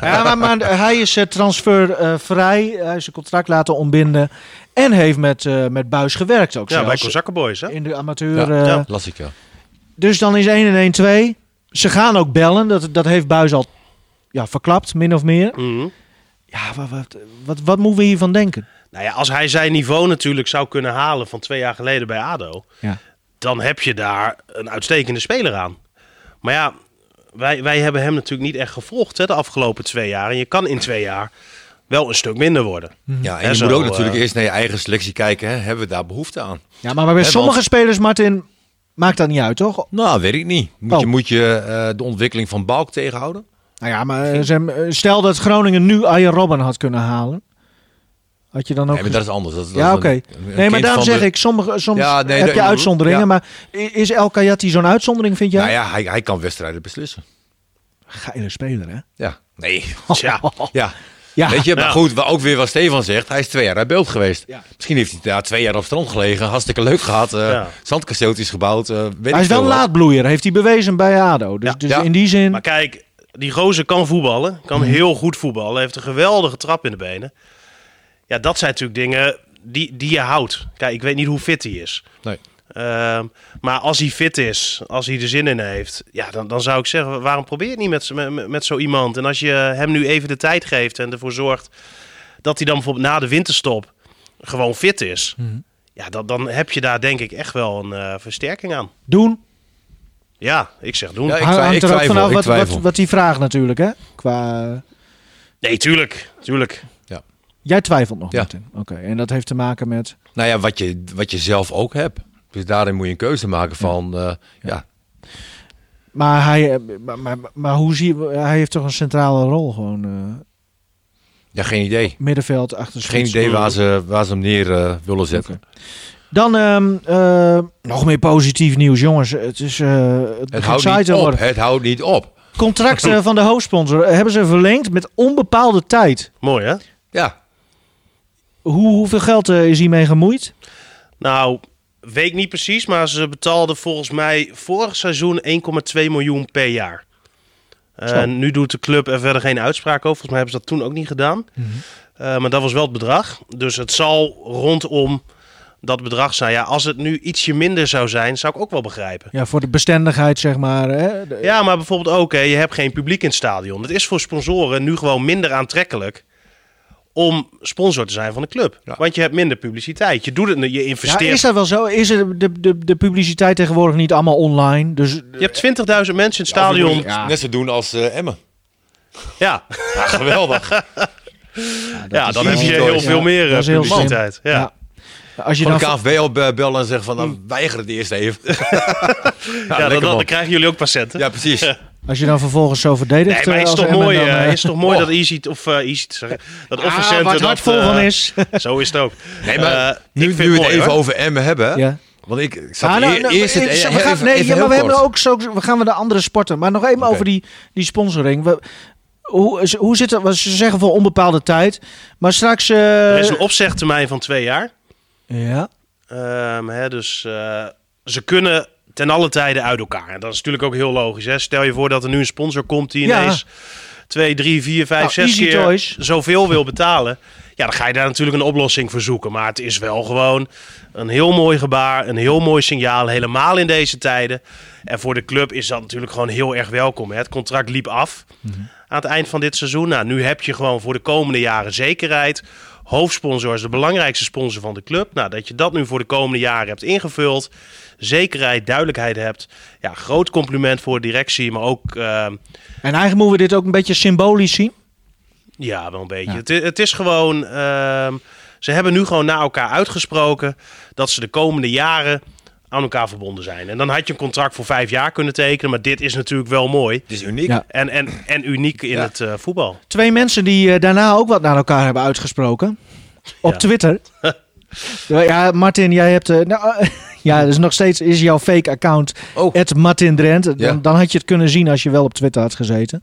Speaker 2: ja, maar, maar hij is eh, transfervrij, hij is zijn contract laten ontbinden en heeft met, eh met Buis gewerkt ook
Speaker 4: Ja, bij
Speaker 2: zelfs.
Speaker 4: Kozakkenboys, hè?
Speaker 2: in de amateur.
Speaker 3: Ja,
Speaker 2: eh,
Speaker 4: ja.
Speaker 3: Las ik ja.
Speaker 2: Dus dan is 1 en 1 2. Ze gaan ook bellen. Dat, dat heeft Buis al ja, verklapt, min of meer.
Speaker 4: Mhm.
Speaker 2: Ja, wat, wat, wat, wat moeten we hiervan denken?
Speaker 4: Nou ja, als hij zijn niveau natuurlijk zou kunnen halen van twee jaar geleden bij ADO,
Speaker 2: Ja.
Speaker 4: dan heb je daar een uitstekende speler aan. Maar ja, wij, wij hebben hem natuurlijk niet echt gevolgd hè, de afgelopen twee jaar. En je kan in twee jaar wel een stuk minder worden.
Speaker 3: Ja,
Speaker 4: Hè,
Speaker 3: en je
Speaker 4: zo,
Speaker 3: moet ook
Speaker 4: eh,
Speaker 3: natuurlijk eerst naar je eigen selectie kijken. Hè. Hebben we daar behoefte aan?
Speaker 2: Ja, maar bij
Speaker 3: want-
Speaker 2: sommige spelers, Martin, maakt dat niet uit, toch?
Speaker 3: Nou, weet ik niet. Moet
Speaker 2: Oh.
Speaker 3: je, moet je eh, de ontwikkeling van Balk tegenhouden?
Speaker 2: Nou ja, maar eh, Sam, eh, stel dat Groningen nu Arjen Robben had kunnen halen. Had je dan ook...
Speaker 3: Nee, maar dat is anders. Dat, is- dat
Speaker 2: ja,
Speaker 3: is
Speaker 2: oké.
Speaker 3: een- een
Speaker 2: Nee, maar
Speaker 3: kind
Speaker 2: daarom
Speaker 3: van
Speaker 2: zeg
Speaker 3: de-
Speaker 2: ik, sommige, soms
Speaker 3: Ja, nee,
Speaker 2: heb
Speaker 3: dat-
Speaker 2: je uitzonderingen.
Speaker 3: ja.
Speaker 2: Maar i- is El Kayati zo'n uitzondering, vind jij?
Speaker 3: Nou ja, hij, hij kan wedstrijden beslissen.
Speaker 2: Geile speler, hè?
Speaker 3: Ja. Nee.
Speaker 4: Tja,
Speaker 3: Ja.
Speaker 2: Ja.
Speaker 3: Weet je, maar
Speaker 4: Ja.
Speaker 3: goed, wa- ook weer wat Stefan zegt. Hij is twee jaar uit beeld geweest.
Speaker 2: Ja.
Speaker 3: Misschien heeft hij daar twee jaar op strand gelegen. Hartstikke leuk gehad. eh
Speaker 4: Ja.
Speaker 3: Zandkasteeltjes gebouwd. eh, weet
Speaker 2: Hij
Speaker 3: ik
Speaker 2: is wel
Speaker 3: veel
Speaker 2: een
Speaker 3: wat.
Speaker 2: laadbloeier, heeft hij bewezen bij ADO. Dus,
Speaker 4: Ja.
Speaker 2: dus
Speaker 3: Ja.
Speaker 2: in die zin...
Speaker 4: maar kijk, die gozer kan voetballen, kan heel goed voetballen, heeft een geweldige trap in de benen. Ja, dat zijn natuurlijk dingen die, die je houdt. Kijk, ik weet niet hoe fit hij is.
Speaker 3: Nee.
Speaker 4: Ehm, maar als hij fit is, als hij er zin in heeft, ja, dan, dan zou ik zeggen: waarom probeer je het niet met, z'n- met, met zo iemand? En als je hem nu even de tijd geeft en ervoor zorgt dat hij dan bijvoorbeeld na de winterstop gewoon fit is, ja, dan, dan heb je daar denk ik echt wel een eh, versterking aan.
Speaker 2: Doen.
Speaker 4: Ja, ik zeg doen.
Speaker 3: Ja, ik-
Speaker 2: Hang-
Speaker 3: twi-
Speaker 2: hangt er ook
Speaker 3: twijfel,
Speaker 2: vanaf
Speaker 3: ik
Speaker 2: wat, wat,
Speaker 3: twijfel.
Speaker 2: wat die vraagt natuurlijk, hè? Qua...
Speaker 4: Nee, tuurlijk. tuurlijk.
Speaker 2: Jij twijfelt nog,
Speaker 3: Ja.
Speaker 2: Martin. Oké, en dat heeft te maken met...
Speaker 3: Nou ja, wat je, wat je zelf ook hebt. Dus daarin moet je een keuze maken van... eh, ja.
Speaker 2: Maar, hij, eh, maar, maar, maar hoe zie je... Hij heeft toch een centrale rol gewoon. eh,
Speaker 3: ja, geen idee.
Speaker 2: middenveld, achter
Speaker 3: Geen idee waar ze, waar ze hem neer eh, willen zetten.
Speaker 2: Dan ehm, eh, nog meer positief nieuws, jongens. Het is eh het
Speaker 3: Het
Speaker 2: begint
Speaker 3: houdt
Speaker 2: saai
Speaker 3: niet
Speaker 2: te
Speaker 3: op.
Speaker 2: worden.
Speaker 3: Het houdt niet op.
Speaker 2: Contracten van de hoofdsponsor hebben ze verlengd met onbepaalde tijd.
Speaker 4: Mooi, hè?
Speaker 3: Ja.
Speaker 2: Hoe, hoeveel geld eh, is hiermee gemoeid?
Speaker 4: Nou, weet ik niet precies, maar ze betaalden volgens mij vorig seizoen 1,2 miljoen per jaar. Eh,
Speaker 2: Zo.
Speaker 4: nu doet de club er verder geen uitspraak over. Volgens mij hebben ze dat toen ook niet gedaan.
Speaker 2: Mhm.
Speaker 4: Eh, maar dat was wel het bedrag. Dus het zal rondom dat bedrag zijn. Ja, als het nu ietsje minder zou zijn, zou ik ook wel begrijpen.
Speaker 2: Ja, voor de bestendigheid, zeg maar. Hè? De-
Speaker 4: Ja, maar bijvoorbeeld ook, hè, je hebt geen publiek in het stadion. Het is voor sponsoren nu gewoon minder aantrekkelijk om sponsor te zijn van de club.
Speaker 3: Ja.
Speaker 4: Want je hebt minder publiciteit. Je doet het, je
Speaker 2: Ja,
Speaker 4: investeert
Speaker 2: is dat wel zo? Is er de, de, de publiciteit tegenwoordig niet allemaal online? Dus
Speaker 4: Je hebt 20.000 mensen in het
Speaker 3: Of
Speaker 4: stadion.
Speaker 3: je moet Net zo doen als eh, Emmen.
Speaker 4: Ja,
Speaker 3: Ja, geweldig.
Speaker 4: ja dan
Speaker 3: is
Speaker 4: heb je
Speaker 3: easy
Speaker 4: heel
Speaker 3: choice.
Speaker 4: veel
Speaker 2: Ja,
Speaker 4: meer
Speaker 2: dat
Speaker 4: eh,
Speaker 2: is heel slim.
Speaker 4: publiciteit. Ja.
Speaker 2: Ja. Als je
Speaker 3: Van
Speaker 2: dan
Speaker 3: de KNVB op eh, bellen en zeggen van...
Speaker 2: Hmm.
Speaker 3: Dan weiger het eerst even. ja,
Speaker 4: Ja,
Speaker 3: lekker
Speaker 4: dan, dan,
Speaker 3: man.
Speaker 4: krijgen jullie ook patiënten.
Speaker 3: Ja, precies.
Speaker 2: Als je dan vervolgens zo
Speaker 4: Nee,
Speaker 2: verdedigt.
Speaker 4: maar
Speaker 2: eh,
Speaker 4: is
Speaker 2: als
Speaker 4: toch
Speaker 2: Emmen
Speaker 4: mooi,
Speaker 2: dan,
Speaker 4: eh,
Speaker 2: eh,
Speaker 4: is toch mooi
Speaker 3: oh.
Speaker 4: dat easy of eh, easy te zeggen, dat
Speaker 2: ah,
Speaker 4: officiënten
Speaker 2: waar het
Speaker 4: dat
Speaker 2: hart vol
Speaker 4: eh,
Speaker 2: van is.
Speaker 4: Zo is het ook.
Speaker 3: Nee, maar
Speaker 4: Eh,
Speaker 3: nu,
Speaker 4: ik
Speaker 3: nu
Speaker 4: vind
Speaker 3: we
Speaker 4: het
Speaker 3: het
Speaker 4: mooi,
Speaker 3: even
Speaker 4: hoor.
Speaker 3: over Emmen hebben.
Speaker 2: Ja.
Speaker 3: Want ik- ik zat
Speaker 2: Ah, nou,
Speaker 3: eer-
Speaker 2: nou,
Speaker 3: eerst... het- e-
Speaker 2: we gaan-
Speaker 3: even-
Speaker 2: nee,
Speaker 3: even
Speaker 2: ja, maar
Speaker 3: heel
Speaker 2: we hebben
Speaker 3: kort.
Speaker 2: ook zo. We gaan we de andere sporten. Maar nog even
Speaker 3: Oké.
Speaker 2: over die, die sponsoring. We, hoe, ze- hoe zit dat? Wat Ze zeggen voor onbepaalde tijd. Maar straks. eh,
Speaker 4: Er is een opzegtermijn van twee jaar.
Speaker 2: ja.
Speaker 4: Ehm, hè, dus eh, ze kunnen ten alle tijde uit elkaar. En dat is natuurlijk ook heel logisch. Hè? Stel je voor dat er nu een sponsor komt die
Speaker 2: Ja.
Speaker 4: ineens 2, 3, 4, 5,
Speaker 2: Nou,
Speaker 4: 6
Speaker 2: Easy
Speaker 4: keer
Speaker 2: Choice.
Speaker 4: zoveel wil betalen. Ja, dan ga je daar natuurlijk een oplossing voor zoeken. Maar het is wel gewoon een heel mooi gebaar, een heel mooi signaal, helemaal in deze tijden. En voor de club is dat natuurlijk gewoon heel erg welkom. Hè? Het contract liep af
Speaker 2: Mhm.
Speaker 4: aan het eind van dit seizoen. Nou, nu heb je gewoon voor de komende jaren zekerheid. Hoofdsponsor is de belangrijkste sponsor van de club. Nou, dat je dat nu voor de komende jaren hebt ingevuld. Zekerheid, duidelijkheid hebt. Ja, groot compliment voor de directie, maar ook... ehm,
Speaker 2: En eigenlijk moeten we dit ook een beetje symbolisch zien.
Speaker 4: ja, wel een beetje.
Speaker 2: Ja.
Speaker 4: Het, i- het is gewoon. ehm, ze hebben nu gewoon na elkaar uitgesproken dat ze de komende jaren aan elkaar verbonden zijn. En dan had je een contract voor vijf jaar kunnen tekenen, maar dit is natuurlijk wel mooi.
Speaker 3: Het is uniek.
Speaker 2: Ja.
Speaker 4: En, en, en uniek in het eh, voetbal.
Speaker 2: Twee mensen die eh, daarna ook wat naar elkaar hebben uitgesproken. Op
Speaker 4: Ja.
Speaker 2: Twitter. ja, Martin, jij hebt... eh, nou, ja, dus nog steeds is jouw fake account
Speaker 3: Oh,
Speaker 2: Het Martin Drent. Dan,
Speaker 3: Ja.
Speaker 2: dan had je het kunnen zien als je wel op Twitter had gezeten.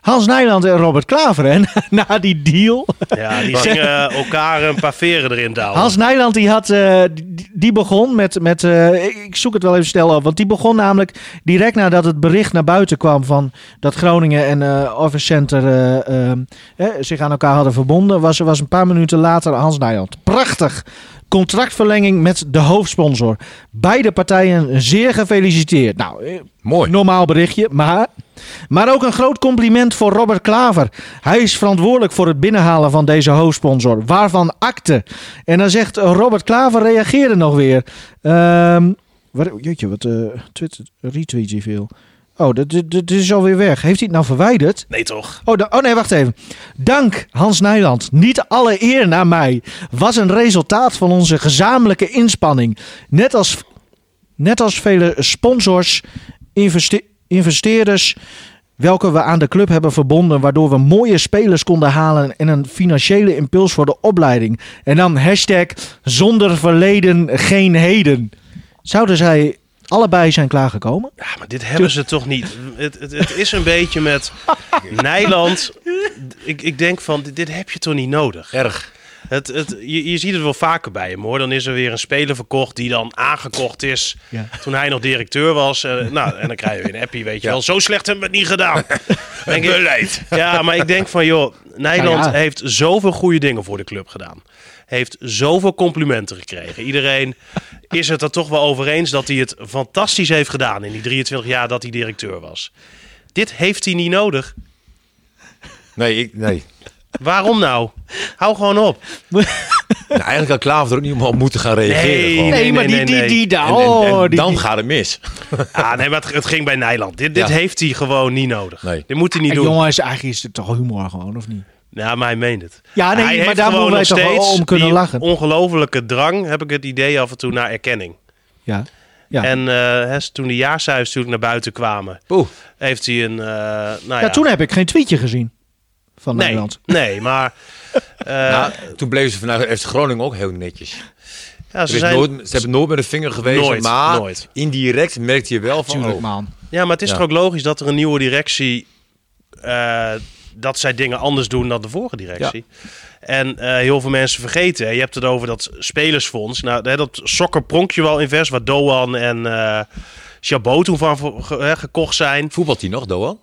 Speaker 2: Hans Nijland en Robert Klaver, hè? Na die deal.
Speaker 4: Ja, die zingen elkaar een paar veren erin douwen.
Speaker 2: Hans Nijland, die, had, eh, die, die begon met... met eh, ik, ik zoek het wel even snel op. Want die begon namelijk direct nadat het bericht naar buiten kwam... van dat Groningen en eh Office Center eh, ehm, eh, zich aan elkaar hadden verbonden... was, was een paar minuten later Hans Nijland. Prachtig! Contractverlenging met de hoofdsponsor. Beide partijen zeer gefeliciteerd. Nou, eh,
Speaker 3: mooi.
Speaker 2: Normaal berichtje, maar. Maar ook een groot compliment voor Robert Klaver. Hij is verantwoordelijk voor het binnenhalen van deze hoofdsponsor. Waarvan akte. En dan zegt Robert Klaver, reageerde nog weer. Ehm wat, jeetje, wat eh Twitter, retweet hij veel. Oh, dat, dat, dat is alweer weg. Heeft hij het nou verwijderd?
Speaker 4: Nee, toch?
Speaker 2: Oh, da- oh nee, wacht even. Dank Hans Nijland. Niet alle eer naar mij. Was een resultaat van onze gezamenlijke inspanning. Net als, net als vele sponsors, investe- investeerders. Welke we aan de club hebben verbonden, waardoor we mooie spelers konden halen en een financiële impuls voor de opleiding. En dan hashtag zonder verleden geen heden. Zouden zij allebei zijn klaargekomen?
Speaker 4: Ja, maar dit hebben ze toch niet. Het, het, het is een beetje met Nijland. Ik, ik denk van, dit- dit heb je toch niet nodig?
Speaker 3: Erg.
Speaker 4: Het, het, je, je ziet het wel vaker bij hem hoor. Dan is er weer een speler verkocht die dan aangekocht is
Speaker 2: Ja.
Speaker 4: toen hij nog directeur was. Eh, nou, en dan krijg je weer een appie, weet je wel. Zo slecht hebben we het niet gedaan. Denk ik- Ja, maar ik denk van joh, Nijland
Speaker 2: Nou ja.
Speaker 4: heeft zoveel goede dingen voor de club gedaan. Heeft zoveel complimenten gekregen. Iedereen is het er toch wel over eens dat hij het fantastisch heeft gedaan in die 23 jaar dat hij directeur was. Dit heeft hij niet nodig.
Speaker 3: Nee, ik, nee.
Speaker 4: Waarom nou? Hou gewoon op.
Speaker 3: Nou, eigenlijk had Klaver er ook niet om op moeten gaan reageren.
Speaker 4: Nee.
Speaker 3: gewoon.
Speaker 4: Nee, maar die- die- die
Speaker 2: daar.
Speaker 3: En- en, en dan gaat het mis.
Speaker 4: Ah, nee, maar het, het ging bij Nijland. Dit, dit
Speaker 3: Ja.
Speaker 4: heeft hij gewoon niet nodig.
Speaker 3: Nee.
Speaker 4: Dit moet hij niet
Speaker 2: Hey,
Speaker 4: doen.
Speaker 2: Jongens, eigenlijk is het toch humor gewoon, of niet?
Speaker 4: Ja, maar hij meent het.
Speaker 2: Ja, nee,
Speaker 4: hij
Speaker 2: maar
Speaker 4: heeft
Speaker 2: daar
Speaker 4: gewoon
Speaker 2: moeten wij
Speaker 4: nog
Speaker 2: toch wel
Speaker 4: steeds
Speaker 2: om kunnen
Speaker 4: die
Speaker 2: lachen.
Speaker 4: ongelofelijke drang, heb ik het idee af en toe, naar erkenning.
Speaker 2: Ja. ja.
Speaker 4: En eh, hè, toen de jaarcijfers natuurlijk naar buiten kwamen,
Speaker 3: Poeh.
Speaker 4: heeft hij een... eh, nou ja,
Speaker 2: ja, toen heb ik geen tweetje gezien van
Speaker 4: nee,
Speaker 2: Nederland.
Speaker 4: Nee, maar... eh,
Speaker 3: Nou, toen bleven ze vanuit FC Groningen ook heel netjes.
Speaker 4: ja,
Speaker 3: Er
Speaker 4: ze
Speaker 3: is
Speaker 4: zijn,
Speaker 3: nooit, ze hebben nooit met een vinger gewezen,
Speaker 4: Nooit,
Speaker 3: maar
Speaker 4: nooit.
Speaker 3: indirect merkte je wel van...
Speaker 2: Tuurlijk,
Speaker 3: oh,
Speaker 2: man.
Speaker 4: ja, maar het is
Speaker 3: Ja.
Speaker 4: toch ook logisch dat er een nieuwe directie... eh, dat zij dingen anders doen dan de vorige directie. En eh, heel veel mensen vergeten. hè. Je hebt het over dat spelersfonds. Nou, hè, dat sokkerpronkje wel invest, waar Doan en eh Chabot toen van voor- ge- hè, gekocht zijn.
Speaker 3: voetbalt hij nog, Doan?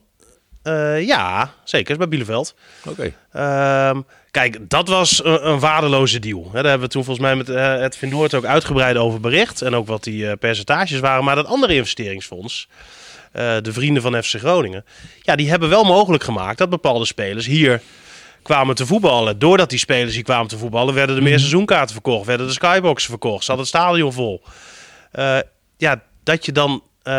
Speaker 4: Eh, ja, zeker. Is bij Bieleveld.
Speaker 3: Oké.
Speaker 4: Ehm, kijk, dat was een, een waardeloze deal. Hè, daar hebben we toen volgens mij met eh het Vindoort ook uitgebreid over bericht. En ook wat die eh, percentages waren. Maar dat andere investeringsfonds, eh, de vrienden van FC Groningen. Ja, die hebben wel mogelijk gemaakt dat bepaalde spelers hier kwamen te voetballen. Doordat die spelers hier kwamen te voetballen, werden er meer seizoenkaarten verkocht. Werden de skyboxen verkocht. Zat het stadion vol. Eh, ja, dat je dan eh,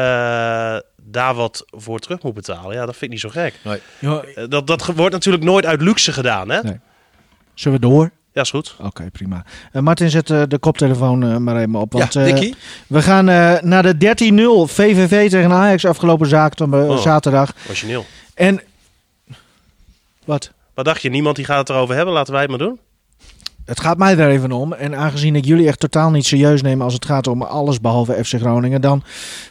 Speaker 4: daar wat voor terug moet betalen. Ja, dat vind ik niet zo gek.
Speaker 3: Nee.
Speaker 4: Eh, Dat, dat ge- wordt natuurlijk nooit uit luxe gedaan, hè?
Speaker 2: Nee. Zullen we door?
Speaker 4: Ja, is goed.
Speaker 2: Oké, prima. Eh, Martin, zet eh, de koptelefoon eh, maar even op. Want,
Speaker 3: ja,
Speaker 2: eh,
Speaker 3: Dickie?
Speaker 2: we gaan eh, naar de 13-0 VVV tegen Ajax afgelopen zaak, eh,
Speaker 4: Oh.
Speaker 2: zaterdag.
Speaker 4: Origineel.
Speaker 2: En... Wat?
Speaker 4: Wat dacht je? Niemand die gaat het erover hebben. Laten wij het maar doen.
Speaker 2: Het gaat mij daar even om. En aangezien ik jullie echt totaal niet serieus neem als het gaat om alles behalve FC Groningen, dan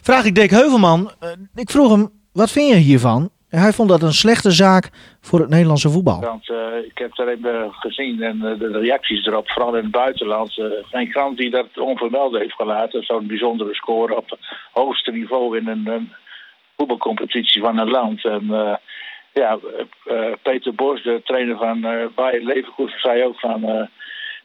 Speaker 2: vraag ik Dick Heuvelman. eh, ik vroeg hem: wat vind je hiervan? En hij vond dat een slechte zaak voor het Nederlandse voetbal.
Speaker 5: Want eh, ik heb het even gezien en eh, de reacties erop, vooral in het buitenland. eh, geen krant die dat onvermeld heeft gelaten. Zo'n bijzondere score op het hoogste niveau in een, een voetbalcompetitie van een land. En eh, ja, eh, eh, Peter Bos, de trainer van eh Bayer Leverkusen, zei ook van... eh,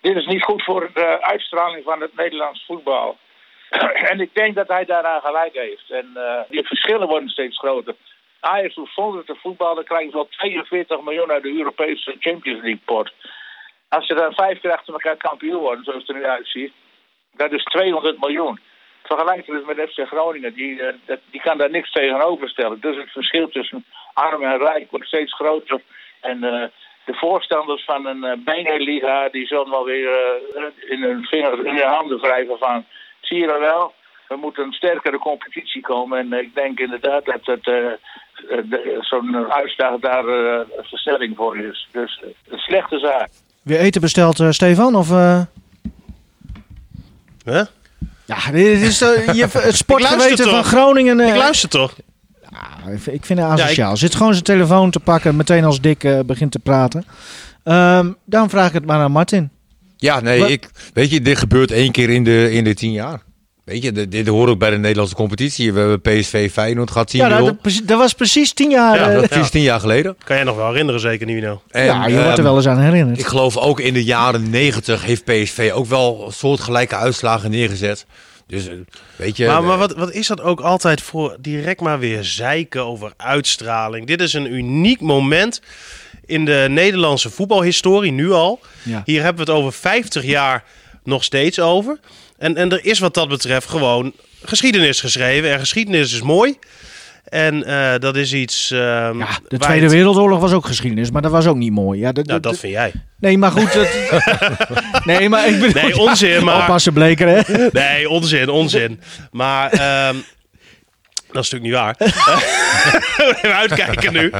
Speaker 5: dit is niet goed voor de uitstraling van het Nederlands voetbal. en ik denk dat hij daaraan gelijk heeft. En eh, die verschillen worden steeds groter. Ajax hoeft zonder te voetballen krijgt wel 42 miljoen uit de Europese Champions League pot. Als ze dan vijf keer achter elkaar kampioen worden, zoals het er nu uitziet, dat is 200 miljoen. Vergelijk het dus met FC Groningen, die, eh, dat- die kan daar niks tegenover stellen. Dus het verschil tussen arm en rijk wordt steeds groter. En eh, de voorstanders van een eh Beneliga, die zullen wel weer eh, in, hun vingers, in hun handen wrijven van... Zie je dat wel? We moeten een sterkere competitie komen. En ik denk inderdaad dat het, eh, eh, de- zo'n uitslag daar eh, een versnelling voor is. Dus eh, een slechte zaak.
Speaker 2: Weer eten besteld, eh, Stefan? Of, eh?
Speaker 4: Huh?
Speaker 2: Ja, dit is eh, je, het sportgeweten
Speaker 4: toch.
Speaker 2: van Groningen. eh,
Speaker 4: Ik luister toch?
Speaker 2: Ah, ik vind- ik vind het asociaal. Zit gewoon zijn telefoon te pakken, meteen als Dick eh, begint te praten. Ehm, daarom vraag ik het maar aan Martin.
Speaker 3: Ja, nee,
Speaker 2: Wat-
Speaker 3: ik, weet je, dit gebeurt één keer in de, in de tien jaar. Weet je, dit, dit hoort ook bij de Nederlandse competitie. We hebben PSV Feyenoord gehad 10
Speaker 2: Ja, nou,
Speaker 3: miljoen.
Speaker 2: dat, dat- dat was precies tien jaar.
Speaker 4: Ja,
Speaker 2: eh,
Speaker 4: dat-
Speaker 3: dat is tien jaar geleden.
Speaker 4: Kan jij nog wel herinneren, zeker, Nino?
Speaker 3: En,
Speaker 2: ja, je wordt er
Speaker 3: ehm,
Speaker 2: wel eens aan herinnerd.
Speaker 3: Ik geloof ook in de jaren negentig heeft PSV ook wel soortgelijke uitslagen neergezet. Dus eh, weet je,
Speaker 4: Maar,
Speaker 3: eh,
Speaker 4: maar wat, wat is dat ook altijd voor direct maar weer zeiken over uitstraling? Dit is een uniek moment in de Nederlandse voetbalhistorie, nu al.
Speaker 2: Ja.
Speaker 4: Hier hebben we het over 50 jaar nog steeds over. En, en er is wat dat betreft gewoon geschiedenis geschreven. En geschiedenis is mooi. En eh, dat is iets. ehm,
Speaker 2: ja, de
Speaker 4: waar
Speaker 2: Tweede
Speaker 4: het-
Speaker 2: Wereldoorlog was ook geschiedenis, maar dat was ook niet mooi. Ja, dat,
Speaker 4: Nou,
Speaker 2: dat-
Speaker 4: dat vind jij.
Speaker 2: nee, maar goed. Dat, nee, maar ik bedoel...
Speaker 4: Nee, onzin, maar.
Speaker 2: Oppassen, Bleker, hè?
Speaker 4: Nee, onzin, onzin. Maar ehm, dat is natuurlijk niet waar. Even uitkijken nu.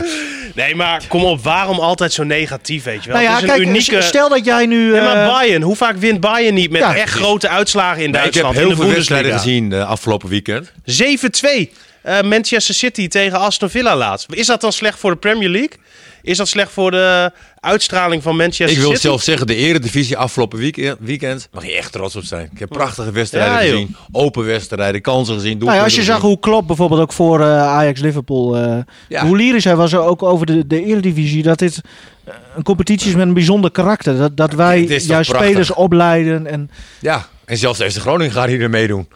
Speaker 4: Nee, maar kom op, waarom altijd zo negatief, weet je wel?
Speaker 2: Nou ja,
Speaker 4: Het is een
Speaker 2: kijk,
Speaker 4: unieke...
Speaker 2: stel dat jij nu...
Speaker 4: Nee, maar
Speaker 2: eh,
Speaker 4: Bayern, hoe vaak wint Bayern niet met
Speaker 2: Ja.
Speaker 4: echt grote uitslagen in
Speaker 3: nee, ik heb
Speaker 4: Duitsland?
Speaker 3: heel
Speaker 4: in de
Speaker 3: veel wedstrijden
Speaker 4: Bundesliga?
Speaker 3: gezien eh, afgelopen weekend.
Speaker 4: 7-2 eh, Manchester City tegen Aston Villa laatst. Is dat dan slecht voor de Premier League? Is dat slecht voor de uitstraling van Manchester
Speaker 3: Ik
Speaker 4: City?
Speaker 3: wil zelf zeggen, de eredivisie afgelopen week- eh, weekend mag je echt trots op zijn. Ik heb prachtige wedstrijden
Speaker 4: Ja, joh.
Speaker 3: gezien, open wedstrijden, kansen gezien.
Speaker 2: Nou ja, als
Speaker 3: doelpunten
Speaker 2: je zag
Speaker 3: gezien.
Speaker 2: hoe Klopp bijvoorbeeld ook voor eh, Ajax-Liverpool... eh,
Speaker 3: Ja.
Speaker 2: Hoe lyrisch hij was ook over de, de Eredivisie. Dat dit eh, een competitie is met een bijzonder karakter. Dat, dat wij
Speaker 3: dit is toch
Speaker 2: juist
Speaker 3: prachtig.
Speaker 2: spelers opleiden. En,
Speaker 3: Ja, en zelfs FC Groningen gaat hier meedoen.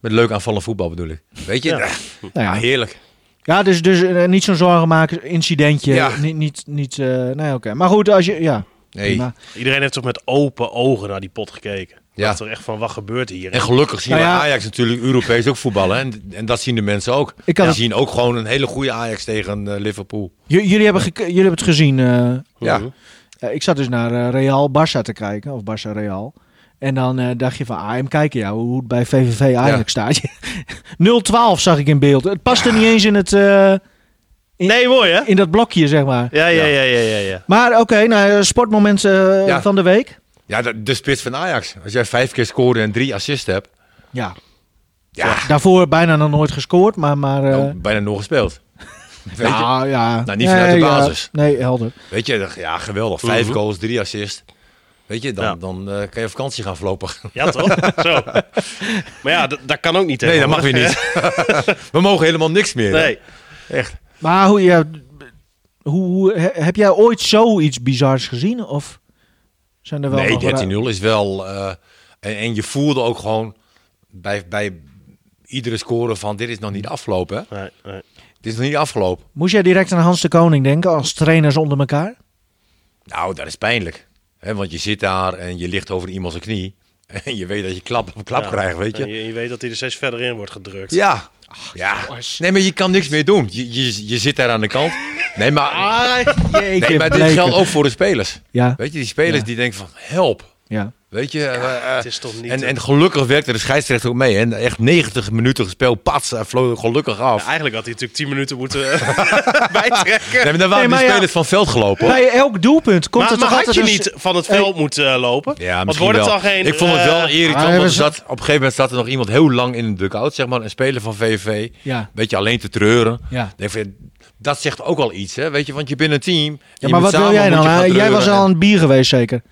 Speaker 3: Met leuk aanvallend voetbal bedoel ik. Weet je,
Speaker 4: Ja.
Speaker 3: eh,
Speaker 2: nou ja,
Speaker 3: heerlijk.
Speaker 2: ja, dus, dus eh, niet zo'n zorgen maken, incidentje.
Speaker 3: Ja.
Speaker 2: Niet, niet, niet eh, nee, oké. Maar goed, als je... Ja,
Speaker 3: Nee.
Speaker 2: prima.
Speaker 4: Iedereen heeft toch met open ogen naar die pot gekeken?
Speaker 3: Ja.
Speaker 4: Dat er echt van, wat gebeurt hier?
Speaker 3: En gelukkig zien
Speaker 2: Nou ja.
Speaker 3: we Ajax natuurlijk Europees ook voetballen. hè. En, en dat zien de mensen ook.
Speaker 2: Ik kan
Speaker 3: Die
Speaker 2: het-
Speaker 3: zien ook gewoon een hele goede Ajax tegen eh, Liverpool.
Speaker 2: J- jullie, hebben gek- jullie hebben het gezien. eh,
Speaker 3: Ja.
Speaker 2: eh, ik zat dus naar eh, Real Barça te kijken. Of Barça Real. En dan eh, dacht je van, ah, hem kijken ja, hoe het bij VVV eigenlijk staat. 0-12 zag ik in beeld. Het paste niet eens in, het, eh,
Speaker 4: Nee, mooi hè?
Speaker 2: in dat blokje, zeg maar.
Speaker 4: Ja, ja, ja, ja, ja. ja.
Speaker 2: Maar oké, nou, eh, sportmoment eh,
Speaker 3: Ja.
Speaker 2: van de week.
Speaker 3: Ja, de, de spits van Ajax. Als jij vijf keer scoorde en drie assists hebt,
Speaker 2: Ja.
Speaker 3: Ja.
Speaker 2: Daarvoor bijna nog nooit gescoord, maar... maar eh,
Speaker 3: dan bijna nog gespeeld. Weet Nou, je?
Speaker 2: nou, ja.
Speaker 3: Nou, niet vanuit de
Speaker 2: Nee, ja.
Speaker 3: basis.
Speaker 2: Nee, helder.
Speaker 3: Weet je, ja, geweldig. Vijf
Speaker 4: Mhm.
Speaker 3: goals, drie assists. Weet je, dan,
Speaker 4: Ja.
Speaker 3: dan eh, kan je op vakantie gaan voorlopig.
Speaker 4: Ja, toch? Zo. Maar ja, dat- dat kan ook niet.
Speaker 3: Nee, dat mag
Speaker 4: tegenwoordig.
Speaker 3: weer niet. We mogen helemaal niks meer.
Speaker 4: Nee.
Speaker 2: Maar hoe, ja, hoe, hoe- he- heb jij ooit zoiets bizars gezien? Of zijn er wel nog
Speaker 3: Nee,
Speaker 2: ra-
Speaker 3: 13-0 is wel... eh, en, en je voelde ook gewoon bij, bij iedere score van... Dit is nog niet afgelopen, hè?
Speaker 4: Nee, nee.
Speaker 3: Dit is nog niet afgelopen.
Speaker 2: Moest jij direct aan Hans de Koning denken als trainers onder elkaar?
Speaker 3: Nou, dat is pijnlijk. hè? want je zit daar en je ligt over iemand zijn knie. En je weet dat je klap op klap
Speaker 4: Ja.
Speaker 3: krijgt, weet je.
Speaker 4: En je. Je weet dat hij er steeds verder in wordt gedrukt.
Speaker 3: Ja. ja. Nee, maar je kan niks meer doen. Je, je, je zit daar aan de kant. Nee, maar,
Speaker 4: Ah,
Speaker 2: Jeetje,
Speaker 3: nee, maar dit
Speaker 2: Bleker.
Speaker 3: geldt ook voor de spelers.
Speaker 2: Ja,
Speaker 3: Weet je, die spelers
Speaker 2: Ja.
Speaker 3: die denken van help.
Speaker 2: ja.
Speaker 3: Weet je, eh, eh,
Speaker 4: het is toch niet
Speaker 3: en,
Speaker 4: een-
Speaker 3: en gelukkig werkte de scheidsrechter ook mee. En echt 90 minuten gespeeld, pats, hij vloog gelukkig af.
Speaker 4: Eigenlijk had hij natuurlijk 10 minuten moeten eh, bijtrekken.
Speaker 3: Nee, maar dan waren
Speaker 2: Nee,
Speaker 3: die
Speaker 2: maar ja.
Speaker 3: spelers van het veld gelopen. hoor.
Speaker 2: Bij elk doelpunt komt
Speaker 4: Maar,
Speaker 2: er
Speaker 4: maar
Speaker 2: toch
Speaker 4: had
Speaker 2: altijd
Speaker 4: je
Speaker 2: een-
Speaker 4: niet van het veld moeten eh, lopen?
Speaker 3: Ja,
Speaker 4: Want
Speaker 3: misschien
Speaker 4: wordt het
Speaker 3: wel.
Speaker 4: dan geen...
Speaker 3: Ik vond het wel
Speaker 4: eh,
Speaker 3: irritant,
Speaker 2: Ah,
Speaker 3: want
Speaker 2: we
Speaker 3: er
Speaker 2: zijn-
Speaker 3: zat, op een gegeven moment zat er nog iemand heel lang in de dugout, zeg maar. Een speler van VVV.
Speaker 2: Ja.
Speaker 3: Weet je, alleen te treuren.
Speaker 2: Ja.
Speaker 3: Ik Denk, van, dat zegt ook al iets, hè. Weet je, want je bent een team.
Speaker 2: Ja, maar wat wil jij dan? hè? Jij was al aan het bier geweest zeker.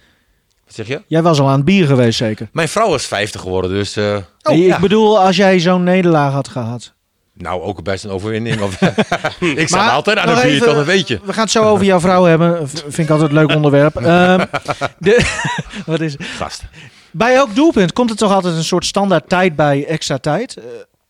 Speaker 3: Wat zeg je?
Speaker 2: Jij was al aan het bier geweest zeker.
Speaker 3: Mijn vrouw is 50 geworden, dus... eh,
Speaker 4: Oh,
Speaker 2: Nee,
Speaker 3: ja.
Speaker 2: Ik bedoel, als jij zo'n nederlaag had gehad.
Speaker 3: Nou, ook best een overwinning. Of, ik zat
Speaker 2: Maar
Speaker 3: altijd aan
Speaker 2: nog
Speaker 3: het bier,
Speaker 2: even-
Speaker 3: toch? Dat weet je.
Speaker 2: We gaan het zo over jouw vrouw hebben. V- vind ik altijd een leuk onderwerp. Ehm, de, wat is het?
Speaker 3: Gast.
Speaker 2: Bij elk doelpunt komt er toch altijd een soort standaard tijd bij extra tijd? Eh,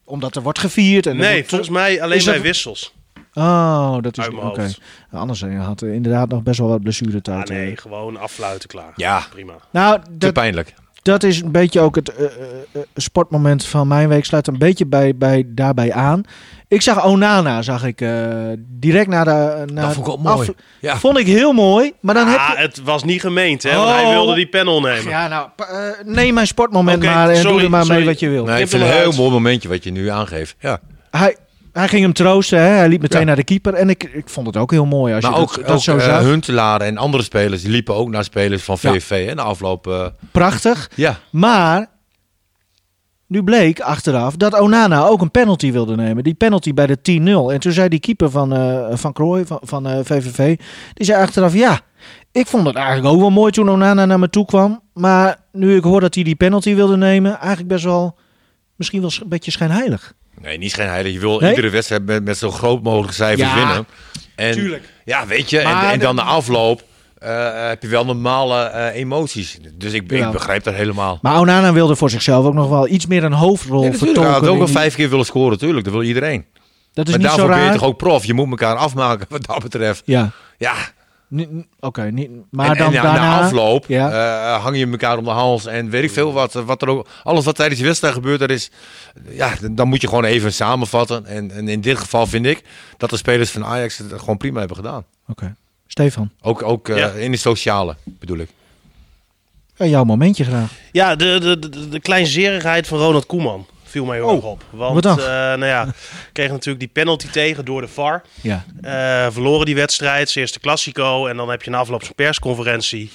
Speaker 2: omdat er wordt gevierd. En er
Speaker 4: Nee,
Speaker 2: wordt-
Speaker 4: volgens mij alleen
Speaker 2: Is
Speaker 4: bij
Speaker 2: dat-
Speaker 4: wissels.
Speaker 2: Oh, dat is...
Speaker 4: Uit
Speaker 2: Oké.
Speaker 4: mijn hoofd.
Speaker 2: Nou, Anders eh, had er inderdaad nog best wel wat blessuretijd.
Speaker 4: Ah, nee,
Speaker 2: eh.
Speaker 4: gewoon affluiten klaar.
Speaker 3: Ja.
Speaker 4: Prima.
Speaker 2: Nou,
Speaker 3: Te
Speaker 2: dat,
Speaker 3: pijnlijk.
Speaker 2: dat is een beetje ook het eh, eh, eh, sportmoment van mijn week. Sluit een beetje bij, bij, daarbij aan. Ik zag Onana, zag ik eh, direct na de... Na
Speaker 3: Dat vond ik ook mooi.
Speaker 2: af-
Speaker 3: Ja.
Speaker 2: Vond ik heel mooi. Maar dan heb
Speaker 4: Ah,
Speaker 2: je...
Speaker 4: het was niet gemeend, hè? Want hij
Speaker 2: Oh.
Speaker 4: wilde die panel nemen.
Speaker 2: Ja, nou, pa- eh, neem mijn sportmoment
Speaker 4: Oké,
Speaker 2: maar en doe
Speaker 4: sorry,
Speaker 2: er maar
Speaker 4: sorry.
Speaker 2: mee wat je wil.
Speaker 3: Nee, ik
Speaker 4: Knip
Speaker 3: vind
Speaker 4: hem
Speaker 3: het een heel
Speaker 4: eruit.
Speaker 3: mooi momentje wat je nu aangeeft. Ja.
Speaker 2: Hij, hij ging hem troosten, hè? hij liep meteen
Speaker 3: Ja.
Speaker 2: naar de keeper. En ik, ik vond het ook heel mooi als
Speaker 3: Maar
Speaker 2: je
Speaker 3: ook, eh,
Speaker 2: dat,
Speaker 3: dat,
Speaker 2: dat zo zag.
Speaker 3: Huntelaar en andere spelers die liepen ook naar spelers van
Speaker 2: Ja.
Speaker 3: VVV hè, na afloop. eh,
Speaker 2: Prachtig.
Speaker 3: ja.
Speaker 2: Maar nu bleek achteraf dat Onana ook een penalty wilde nemen. Die penalty bij de 10-0. En toen zei die keeper van, eh van Krooi, van, van eh, VVV, die zei achteraf... Ja, ik vond het eigenlijk ook wel mooi toen Onana naar me toe kwam. Maar nu ik hoor dat hij die penalty wilde nemen, eigenlijk best wel... Misschien wel sch- een beetje schijnheilig.
Speaker 3: Nee, niet geen heilig. Je wil
Speaker 2: Nee?
Speaker 3: iedere wedstrijd met, met zo groot mogelijk cijfers
Speaker 2: Ja,
Speaker 3: winnen. En, Ja, weet je. En,
Speaker 2: Maar
Speaker 3: en dan
Speaker 2: de-
Speaker 3: na afloop eh, heb je wel normale eh, emoties. Dus ik,
Speaker 2: Ja.
Speaker 3: ik begrijp dat helemaal.
Speaker 2: Maar Onana wilde voor zichzelf ook nog wel iets meer een hoofdrol
Speaker 3: Ja, natuurlijk. Hij
Speaker 2: vertolken.
Speaker 3: had ook
Speaker 2: in
Speaker 3: al
Speaker 2: die-
Speaker 3: vijf keer willen scoren, natuurlijk. Dat wil iedereen.
Speaker 2: Dat is
Speaker 3: maar
Speaker 2: niet zo
Speaker 3: daarvoor ben je
Speaker 2: raar.
Speaker 3: toch ook prof. Je moet elkaar afmaken wat dat betreft.
Speaker 2: Ja.
Speaker 3: Ja,
Speaker 2: Ni- n- Oké, niet. Maar
Speaker 3: en,
Speaker 2: dan
Speaker 3: en na-
Speaker 2: daarna.
Speaker 3: na afloop
Speaker 2: Ja.
Speaker 3: eh, hang je elkaar om de hals en weet ik veel wat, wat er ook. Alles wat tijdens de wedstrijd gebeurt, dat is, ja, d- dan moet je gewoon even samenvatten. En, en in dit geval vind ik dat de spelers van Ajax het gewoon prima hebben gedaan.
Speaker 2: Oké, Stefan,
Speaker 3: Ook, ook eh,
Speaker 4: Ja.
Speaker 3: in het sociale bedoel ik.
Speaker 2: ja, eh, jouw momentje graag.
Speaker 4: Ja, de, de, de, de kleinzerigheid van Ronald Koeman viel mij heel erg op.
Speaker 2: wat
Speaker 4: Want
Speaker 2: dan?
Speaker 4: eh, nou ja, kreeg natuurlijk die penalty tegen door de VAR.
Speaker 2: Ja.
Speaker 4: Eh, verloren die wedstrijd, zijn eerste Classico. En dan heb je na afloop zijn persconferentie.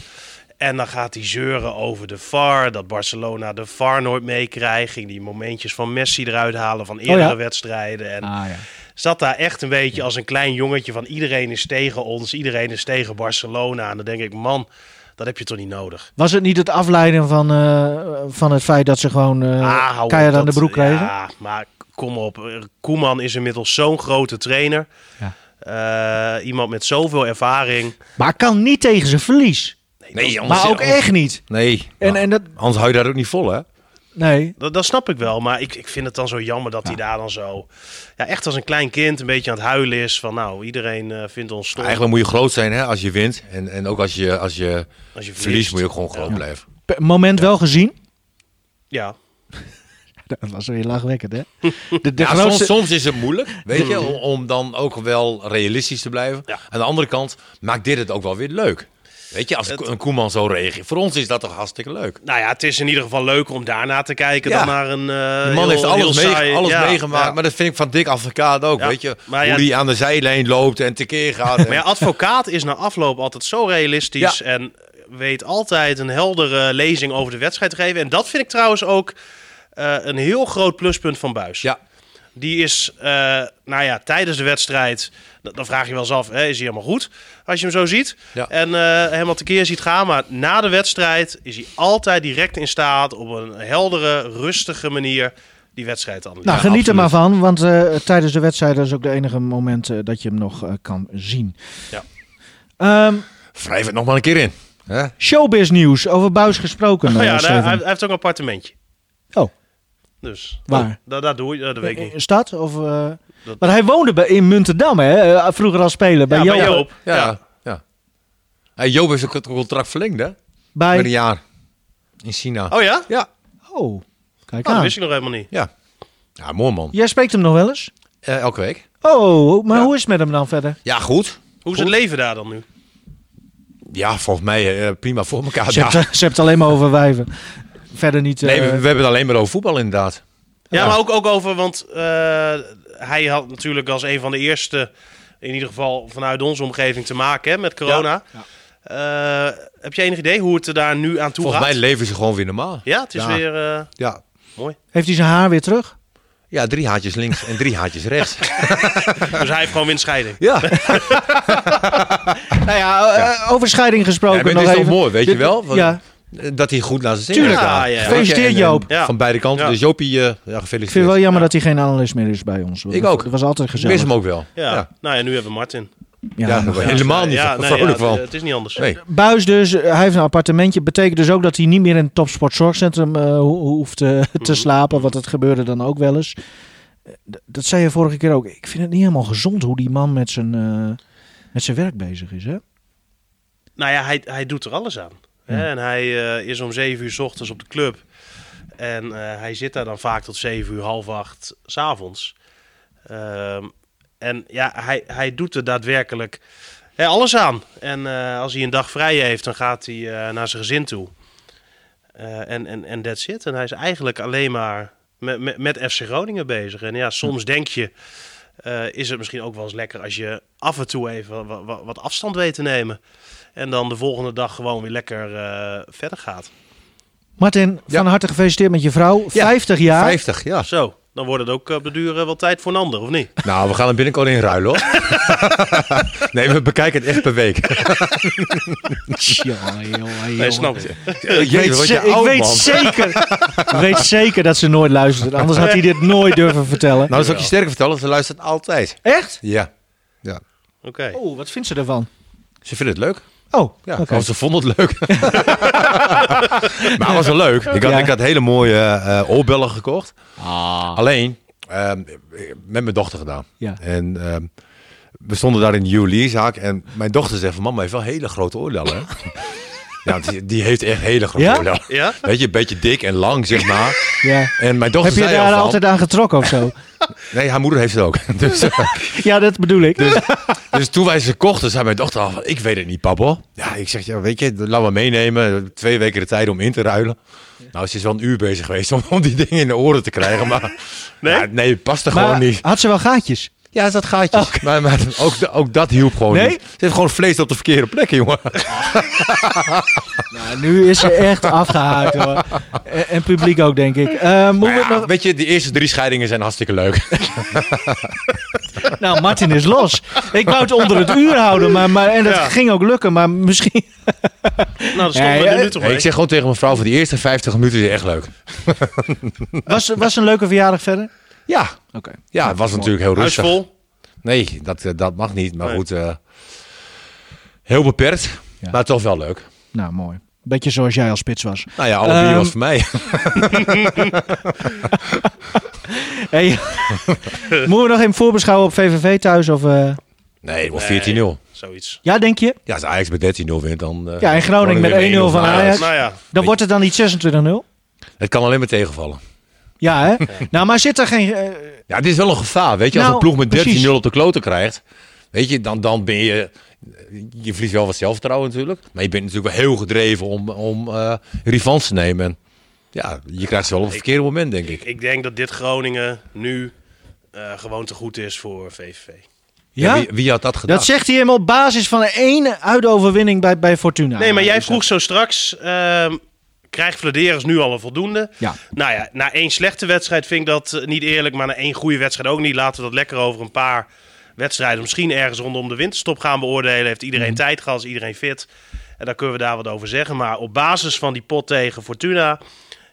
Speaker 4: En dan gaat hij zeuren over de VAR. Dat Barcelona de VAR nooit meekrijgt. Ging die momentjes van Messi eruit halen van eerdere
Speaker 2: Oh ja.
Speaker 4: wedstrijden. En
Speaker 2: Ah ja.
Speaker 4: zat daar echt een beetje als een klein jongetje van iedereen is tegen ons. Iedereen is tegen Barcelona. En dan denk ik, man, dat heb je toch niet nodig.
Speaker 2: Was het niet het afleiden van, eh, van het feit dat ze gewoon eh
Speaker 4: Ah, hou op,
Speaker 2: keihard aan de
Speaker 4: dat-
Speaker 2: broek kregen?
Speaker 4: Ja, maar kom op. Koeman is inmiddels zo'n grote trainer.
Speaker 2: Ja.
Speaker 4: Eh, iemand met zoveel ervaring.
Speaker 2: Maar hij kan niet tegen zijn verlies.
Speaker 3: Nee,
Speaker 2: maar ook echt niet.
Speaker 3: Nee,
Speaker 2: En,
Speaker 3: Nou,
Speaker 2: en dat,
Speaker 3: anders hou je daar ook niet vol, hè?
Speaker 2: nee.
Speaker 4: Dat, dat snap ik wel, maar ik, ik vind het dan zo jammer dat hij daar dan zo... Ja, echt als een klein kind een beetje aan het huilen is. Van nou, iedereen eh, vindt ons stom.
Speaker 3: Eigenlijk moet je groot zijn hè, als je wint. En, en ook als je, als je
Speaker 4: als je
Speaker 3: verliest, moet je ook gewoon
Speaker 4: Ja.
Speaker 3: groot blijven.
Speaker 2: P- Moment wel gezien.
Speaker 4: Ja.
Speaker 2: Dat was weer lachwekkend, hè? De, de
Speaker 3: Ja,
Speaker 4: Nou,
Speaker 2: grootste...
Speaker 3: soms, soms is het moeilijk, weet je, om, om dan ook wel realistisch te blijven.
Speaker 4: Mm-hmm. Ja.
Speaker 3: Aan de andere kant maakt dit het ook wel weer leuk. Weet je, als
Speaker 4: Het-
Speaker 3: een Koeman zo reageert. Voor ons is dat toch hartstikke leuk.
Speaker 4: Nou ja, het is in ieder geval leuk om daarna te kijken
Speaker 3: Ja.
Speaker 4: dan naar een eh,
Speaker 3: Die man
Speaker 4: heel-
Speaker 3: heeft alles,
Speaker 4: heel
Speaker 3: mee-
Speaker 4: saai-
Speaker 3: alles
Speaker 4: ja,
Speaker 3: meegemaakt,
Speaker 4: ja.
Speaker 3: maar dat vind ik van Dick Advocaat ook,
Speaker 4: Ja,
Speaker 3: weet je.
Speaker 4: maar ja,
Speaker 3: Hoe die aan de zijlijn loopt en tekeer gaat. En-
Speaker 4: Maar ja, advocaat is na afloop altijd zo realistisch
Speaker 3: Ja.
Speaker 4: en weet altijd een heldere lezing over de wedstrijd te geven. En dat vind ik trouwens ook eh, een heel groot pluspunt van Buis.
Speaker 3: ja,
Speaker 4: Die is, eh, nou ja, tijdens de wedstrijd, d- dan vraag je wel eens af, hè, is hij helemaal goed als je hem zo ziet?
Speaker 3: Ja.
Speaker 4: En eh helemaal tekeer ziet gaan, maar na de wedstrijd is hij altijd direct in staat op een heldere, rustige manier die wedstrijd te
Speaker 2: Nou,
Speaker 4: analyseren.
Speaker 2: geniet er
Speaker 3: absoluut.
Speaker 2: maar van, want eh, tijdens de wedstrijd dat is ook de enige moment eh, dat je hem nog eh, kan zien.
Speaker 4: Ja.
Speaker 2: Ehm,
Speaker 3: wrijf het nog maar een keer in. hè?
Speaker 2: showbiz nieuws, over Buis gesproken.
Speaker 4: Nou
Speaker 2: eh,
Speaker 4: ja, daar-
Speaker 2: Stefan.
Speaker 4: hij, hij heeft ook een appartementje.
Speaker 2: Oh.
Speaker 4: Dus,
Speaker 2: Waar?
Speaker 4: Daar, daar doe je, eh, dat weet ik
Speaker 2: In
Speaker 4: niet.
Speaker 2: een stad? Of, eh,
Speaker 4: Dat-
Speaker 2: Maar hij woonde bij, in Muntendam, hè? eh, vroeger al spelen. Bij
Speaker 4: Ja,
Speaker 2: Joop.
Speaker 4: bij Joop.
Speaker 3: Ja,
Speaker 4: Ja.
Speaker 3: ja. Hey, Joop heeft ook het contract verlengd, hè?
Speaker 2: Bij-
Speaker 3: Met een jaar. In China.
Speaker 4: Oh ja?
Speaker 3: Ja.
Speaker 2: Oh, kijk
Speaker 4: Nou, dat
Speaker 2: aan.
Speaker 4: wist ik nog helemaal niet.
Speaker 3: Ja. Ja, mooi man.
Speaker 2: Jij spreekt hem nog wel eens?
Speaker 3: Eh, elke week.
Speaker 2: Oh, maar
Speaker 3: Ja.
Speaker 2: hoe is het met hem dan verder?
Speaker 3: Ja, goed.
Speaker 4: Hoe is het leven daar dan nu?
Speaker 3: ja, volgens mij eh, prima voor elkaar.
Speaker 2: Ze hebt,
Speaker 3: daar.
Speaker 2: ze hebt het alleen maar over wijven. Verder niet. eh,
Speaker 3: Nee, we, we hebben het alleen maar over voetbal inderdaad.
Speaker 4: Ja, maar ook, ook over, want eh, hij had natuurlijk als een van de eerste, in ieder geval vanuit onze omgeving, te maken hè, met corona. Eh, heb je enig idee hoe het er daar nu aan toe
Speaker 3: Volgens
Speaker 4: gaat?
Speaker 3: mij leven ze gewoon weer normaal.
Speaker 4: ja, het is
Speaker 3: Ja.
Speaker 4: weer... eh,
Speaker 3: Ja.
Speaker 2: Heeft hij zijn haar weer terug?
Speaker 3: ja, drie haartjes links en drie haartjes rechts.
Speaker 4: dus hij heeft gewoon winstscheiding.
Speaker 3: ja.
Speaker 2: Nou ja, eh, over scheiding gesproken.
Speaker 3: Ja, maar het
Speaker 2: nog
Speaker 3: is toch
Speaker 2: even.
Speaker 3: mooi, weet je
Speaker 2: Dit-
Speaker 3: wel? Want-
Speaker 2: Ja,
Speaker 3: Dat hij goed naar zijn zin
Speaker 2: Tuurlijk.
Speaker 3: heeft gedaan.
Speaker 4: Ja, ja, ja.
Speaker 2: Gefeliciteerd,
Speaker 3: En, en
Speaker 2: Joop.
Speaker 4: Ja.
Speaker 3: Van beide kanten.
Speaker 4: Ja.
Speaker 3: Dus Joopie, eh, ja,
Speaker 2: ik vind
Speaker 3: gefeliciteerd.
Speaker 2: het wel jammer dat hij geen analist meer is bij ons. hoor.
Speaker 3: Ik ook.
Speaker 2: Dat was altijd
Speaker 3: Ik mis
Speaker 2: gezellig.
Speaker 3: hem ook wel.
Speaker 4: Ja. nou ja, nu hebben we Martin.
Speaker 2: Ja,
Speaker 3: Ja,
Speaker 2: maar-
Speaker 3: helemaal niet
Speaker 4: ja, nee, ja,
Speaker 3: vrolijk
Speaker 4: het,
Speaker 3: van.
Speaker 4: het is niet anders.
Speaker 3: Nee.
Speaker 2: Buis dus, eh, hij heeft een appartementje. Betekent dus ook dat hij niet meer in het topsportzorgcentrum eh, ho- hoeft eh,
Speaker 3: Mhm.
Speaker 2: te slapen. Want dat gebeurde dan ook wel eens. Eh, d- Dat zei je vorige keer ook. Ik vind het niet helemaal gezond hoe die man met zijn, eh, met zijn werk bezig is. Hè?
Speaker 4: Nou ja, hij, hij doet er alles aan. Hè? En hij eh, is om zeven uur 's ochtends op de club. En eh, hij zit daar dan vaak tot zeven uur, half acht, s'avonds. Ehm en ja, hij, hij doet er daadwerkelijk hè, alles aan. En eh, als hij een dag vrij heeft, dan gaat hij eh, naar zijn gezin toe. Eh, en, en, en that's it. En hij is eigenlijk alleen maar met, met, met FC Groningen bezig. En ja, soms denk je, eh, is het misschien ook wel eens lekker als je af en toe even wa- wa- wat afstand weet te nemen. En dan de volgende dag gewoon weer lekker eh, verder gaat.
Speaker 2: Martin,
Speaker 3: Ja.
Speaker 2: van harte gefeliciteerd met je vrouw.
Speaker 3: Ja,
Speaker 2: 50 jaar.
Speaker 3: 50, ja.
Speaker 4: Zo, dan wordt het ook eh, op de duur eh, wel tijd voor een ander, of niet?
Speaker 3: Nou, we gaan hem binnenkort inruilen hoor. nee, we bekijken het echt per week.
Speaker 2: Jongen, jongen,
Speaker 4: Nee,
Speaker 2: jongen.
Speaker 4: snap je.
Speaker 3: Jezus,
Speaker 2: Ik weet,
Speaker 3: wat
Speaker 2: ze-
Speaker 3: je
Speaker 2: ik
Speaker 3: oud,
Speaker 2: weet
Speaker 3: man.
Speaker 2: zeker, ik weet zeker dat ze nooit luistert. Anders had hij dit nooit durven vertellen.
Speaker 3: Nou, dat zal ik je sterker vertellen. Ze luistert altijd.
Speaker 2: Echt?
Speaker 3: Ja.
Speaker 4: Oké. Nou,
Speaker 2: Oh, wat vindt ze ervan?
Speaker 3: Ze vinden het leuk.
Speaker 2: Oh,
Speaker 3: Ja,
Speaker 2: oké.
Speaker 3: of ze vonden het leuk. maar het was wel leuk. Ik had,
Speaker 2: Ja. Ah.
Speaker 3: ik had hele mooie eh eh, oorbellen gekocht. Alleen, ehm, met mijn dochter gedaan.
Speaker 2: Ja.
Speaker 3: En ehm, we stonden daar in de juwelierzaak. En mijn dochter zei van, mama heeft wel hele grote oorbellen. hè?" ja, die, die heeft echt hele grote
Speaker 2: Ja?
Speaker 3: oorbellen.
Speaker 4: Ja?
Speaker 3: Weet je, een beetje dik en lang, zeg maar.
Speaker 2: Ja.
Speaker 3: En mijn dochter
Speaker 2: Heb je
Speaker 3: zei al
Speaker 2: daar
Speaker 3: van-
Speaker 2: altijd aan getrokken of zo?
Speaker 3: Nee, haar moeder heeft het ook. dus, eh,
Speaker 2: ja, dat bedoel ik.
Speaker 3: dus toen wij ze kochten, zei mijn dochter al van, ik weet het niet, papa. Ja, ik zeg, ja, weet je, laat maar meenemen. Twee weken de tijd om in te ruilen. Nou, ze is wel een uur bezig geweest om, om die dingen in de oren te krijgen. Maar
Speaker 4: Nee?
Speaker 3: ja, nee het past er
Speaker 2: maar
Speaker 3: gewoon niet.
Speaker 2: had ze wel gaatjes? Oh.
Speaker 3: Ja, dat gaatje. Maar, maar ook, ook dat hielp gewoon
Speaker 2: Nee?
Speaker 3: niet. Ze heeft gewoon vlees op de verkeerde plek, jongen.
Speaker 2: Nou, nu is ze echt afgehaakt hoor. En, en publiek ook, denk ik. Eh, moeten
Speaker 3: Maar
Speaker 2: we het
Speaker 3: ja,
Speaker 2: nog-
Speaker 3: weet je, die eerste drie scheidingen zijn hartstikke leuk.
Speaker 2: Nou, Martin is los. Ik wou het onder het uur houden, maar, maar, en dat
Speaker 4: Ja.
Speaker 2: ging ook lukken. Maar misschien...
Speaker 4: Nou, dan stoppen
Speaker 2: Nee,
Speaker 4: we
Speaker 2: eh,
Speaker 4: er nu toch
Speaker 3: Nee,
Speaker 4: mee.
Speaker 3: ik zeg gewoon tegen mijn vrouw, voor die eerste 50 minuten is echt leuk.
Speaker 2: Was, was een leuke verjaardag verder?
Speaker 3: Ja,
Speaker 2: Oké.
Speaker 3: ja het was natuurlijk heel
Speaker 4: Huis
Speaker 3: rustig.
Speaker 4: vol.
Speaker 3: Nee, dat, eh, dat mag niet. Maar
Speaker 4: Nee.
Speaker 3: goed, eh, heel beperkt.
Speaker 2: Ja.
Speaker 3: Maar toch wel leuk.
Speaker 2: Nou, mooi. Beetje zoals jij als spits was.
Speaker 3: Nou ja, alle bier
Speaker 2: Ehm,
Speaker 3: was voor mij.
Speaker 2: Hey, moeten we nog even voorbeschouwen op VVV thuis? Of, eh,
Speaker 3: Nee, of 14-0.
Speaker 4: Zoiets.
Speaker 2: Ja, denk je?
Speaker 3: Ja, als Ajax met 13-0 wint, dan... eh,
Speaker 2: Ja, en Groningen met 1-0 van Ajax.
Speaker 4: Nou ja,
Speaker 2: Dan wordt het dan niet 26-0?
Speaker 3: Het kan alleen maar tegenvallen.
Speaker 2: Ja, hè? Nou, maar zit er geen... eh,
Speaker 3: Ja, dit is wel een gevaar. Weet je, als
Speaker 2: Nou,
Speaker 3: een ploeg met 13-0
Speaker 2: precies.
Speaker 3: op de kloten krijgt... Weet je, dan, dan ben je... Je verliest wel wat zelfvertrouwen natuurlijk. Maar je bent natuurlijk wel heel gedreven om, om eh revanche te nemen. En ja, je krijgt ze wel op het verkeerde moment, denk ik.
Speaker 4: ik denk dat dit Groningen nu eh, gewoon te goed is voor VVV.
Speaker 2: ja?
Speaker 3: wie, wie had dat gedaan?
Speaker 2: Dat zegt hij hem op basis van één uitoverwinning bij, bij Fortuna.
Speaker 4: Nee, maar jij
Speaker 2: Dus dat-
Speaker 4: vroeg zo straks, ehm krijgt Vladeris nu al een voldoende?
Speaker 2: Ja.
Speaker 4: Nou ja, na één slechte wedstrijd vind ik dat eh, niet eerlijk, maar na één goede wedstrijd ook niet. Laten we dat lekker over een paar wedstrijden, misschien ergens rondom de winterstop gaan beoordelen. Heeft iedereen
Speaker 2: Mhm.
Speaker 4: tijd gehad, is iedereen fit? En dan kunnen we daar wat over zeggen. Maar op basis van die pot tegen Fortuna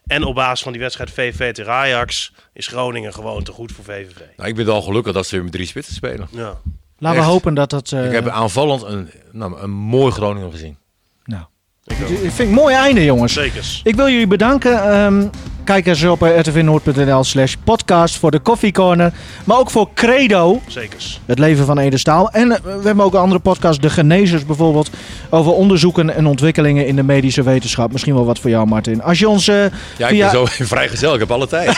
Speaker 4: en op basis van die wedstrijd VV tegen Ajax is Groningen gewoon te goed voor VVV.
Speaker 3: Nou, ik ben wel gelukkig dat ze weer met drie spitsen spelen.
Speaker 4: Ja.
Speaker 2: Laten we
Speaker 3: Echt.
Speaker 2: hopen dat dat... eh,
Speaker 3: Ik heb aanvallend een, nou, een mooi Groningen gezien.
Speaker 2: Nou, ik vind ik een mooi einde, jongens.
Speaker 4: Zekers.
Speaker 2: Ik wil jullie bedanken. ehm, kijk eens op eh, rtvnoord.nl slash podcast voor de koffiecorner. Maar ook voor Credo,
Speaker 4: Zekers.
Speaker 2: het leven van Ede Staal. En eh, we hebben ook een andere podcast, De Genezers bijvoorbeeld. over onderzoeken en ontwikkelingen in de medische wetenschap. Misschien wel wat voor jou, Martin. Als je ons eh,
Speaker 3: Ja, ik
Speaker 2: via,
Speaker 3: ben zo vrijgezel, ik heb alle tijd.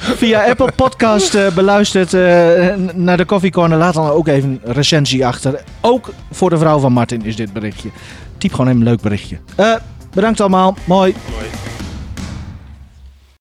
Speaker 2: via Apple Podcast eh, beluistert eh, naar de Coffee Corner, laat dan ook even een recensie achter. Ook voor de vrouw van Martin is dit berichtje. Typ gewoon even een leuk berichtje. Eh, bedankt allemaal. Mooi.
Speaker 4: Mooi.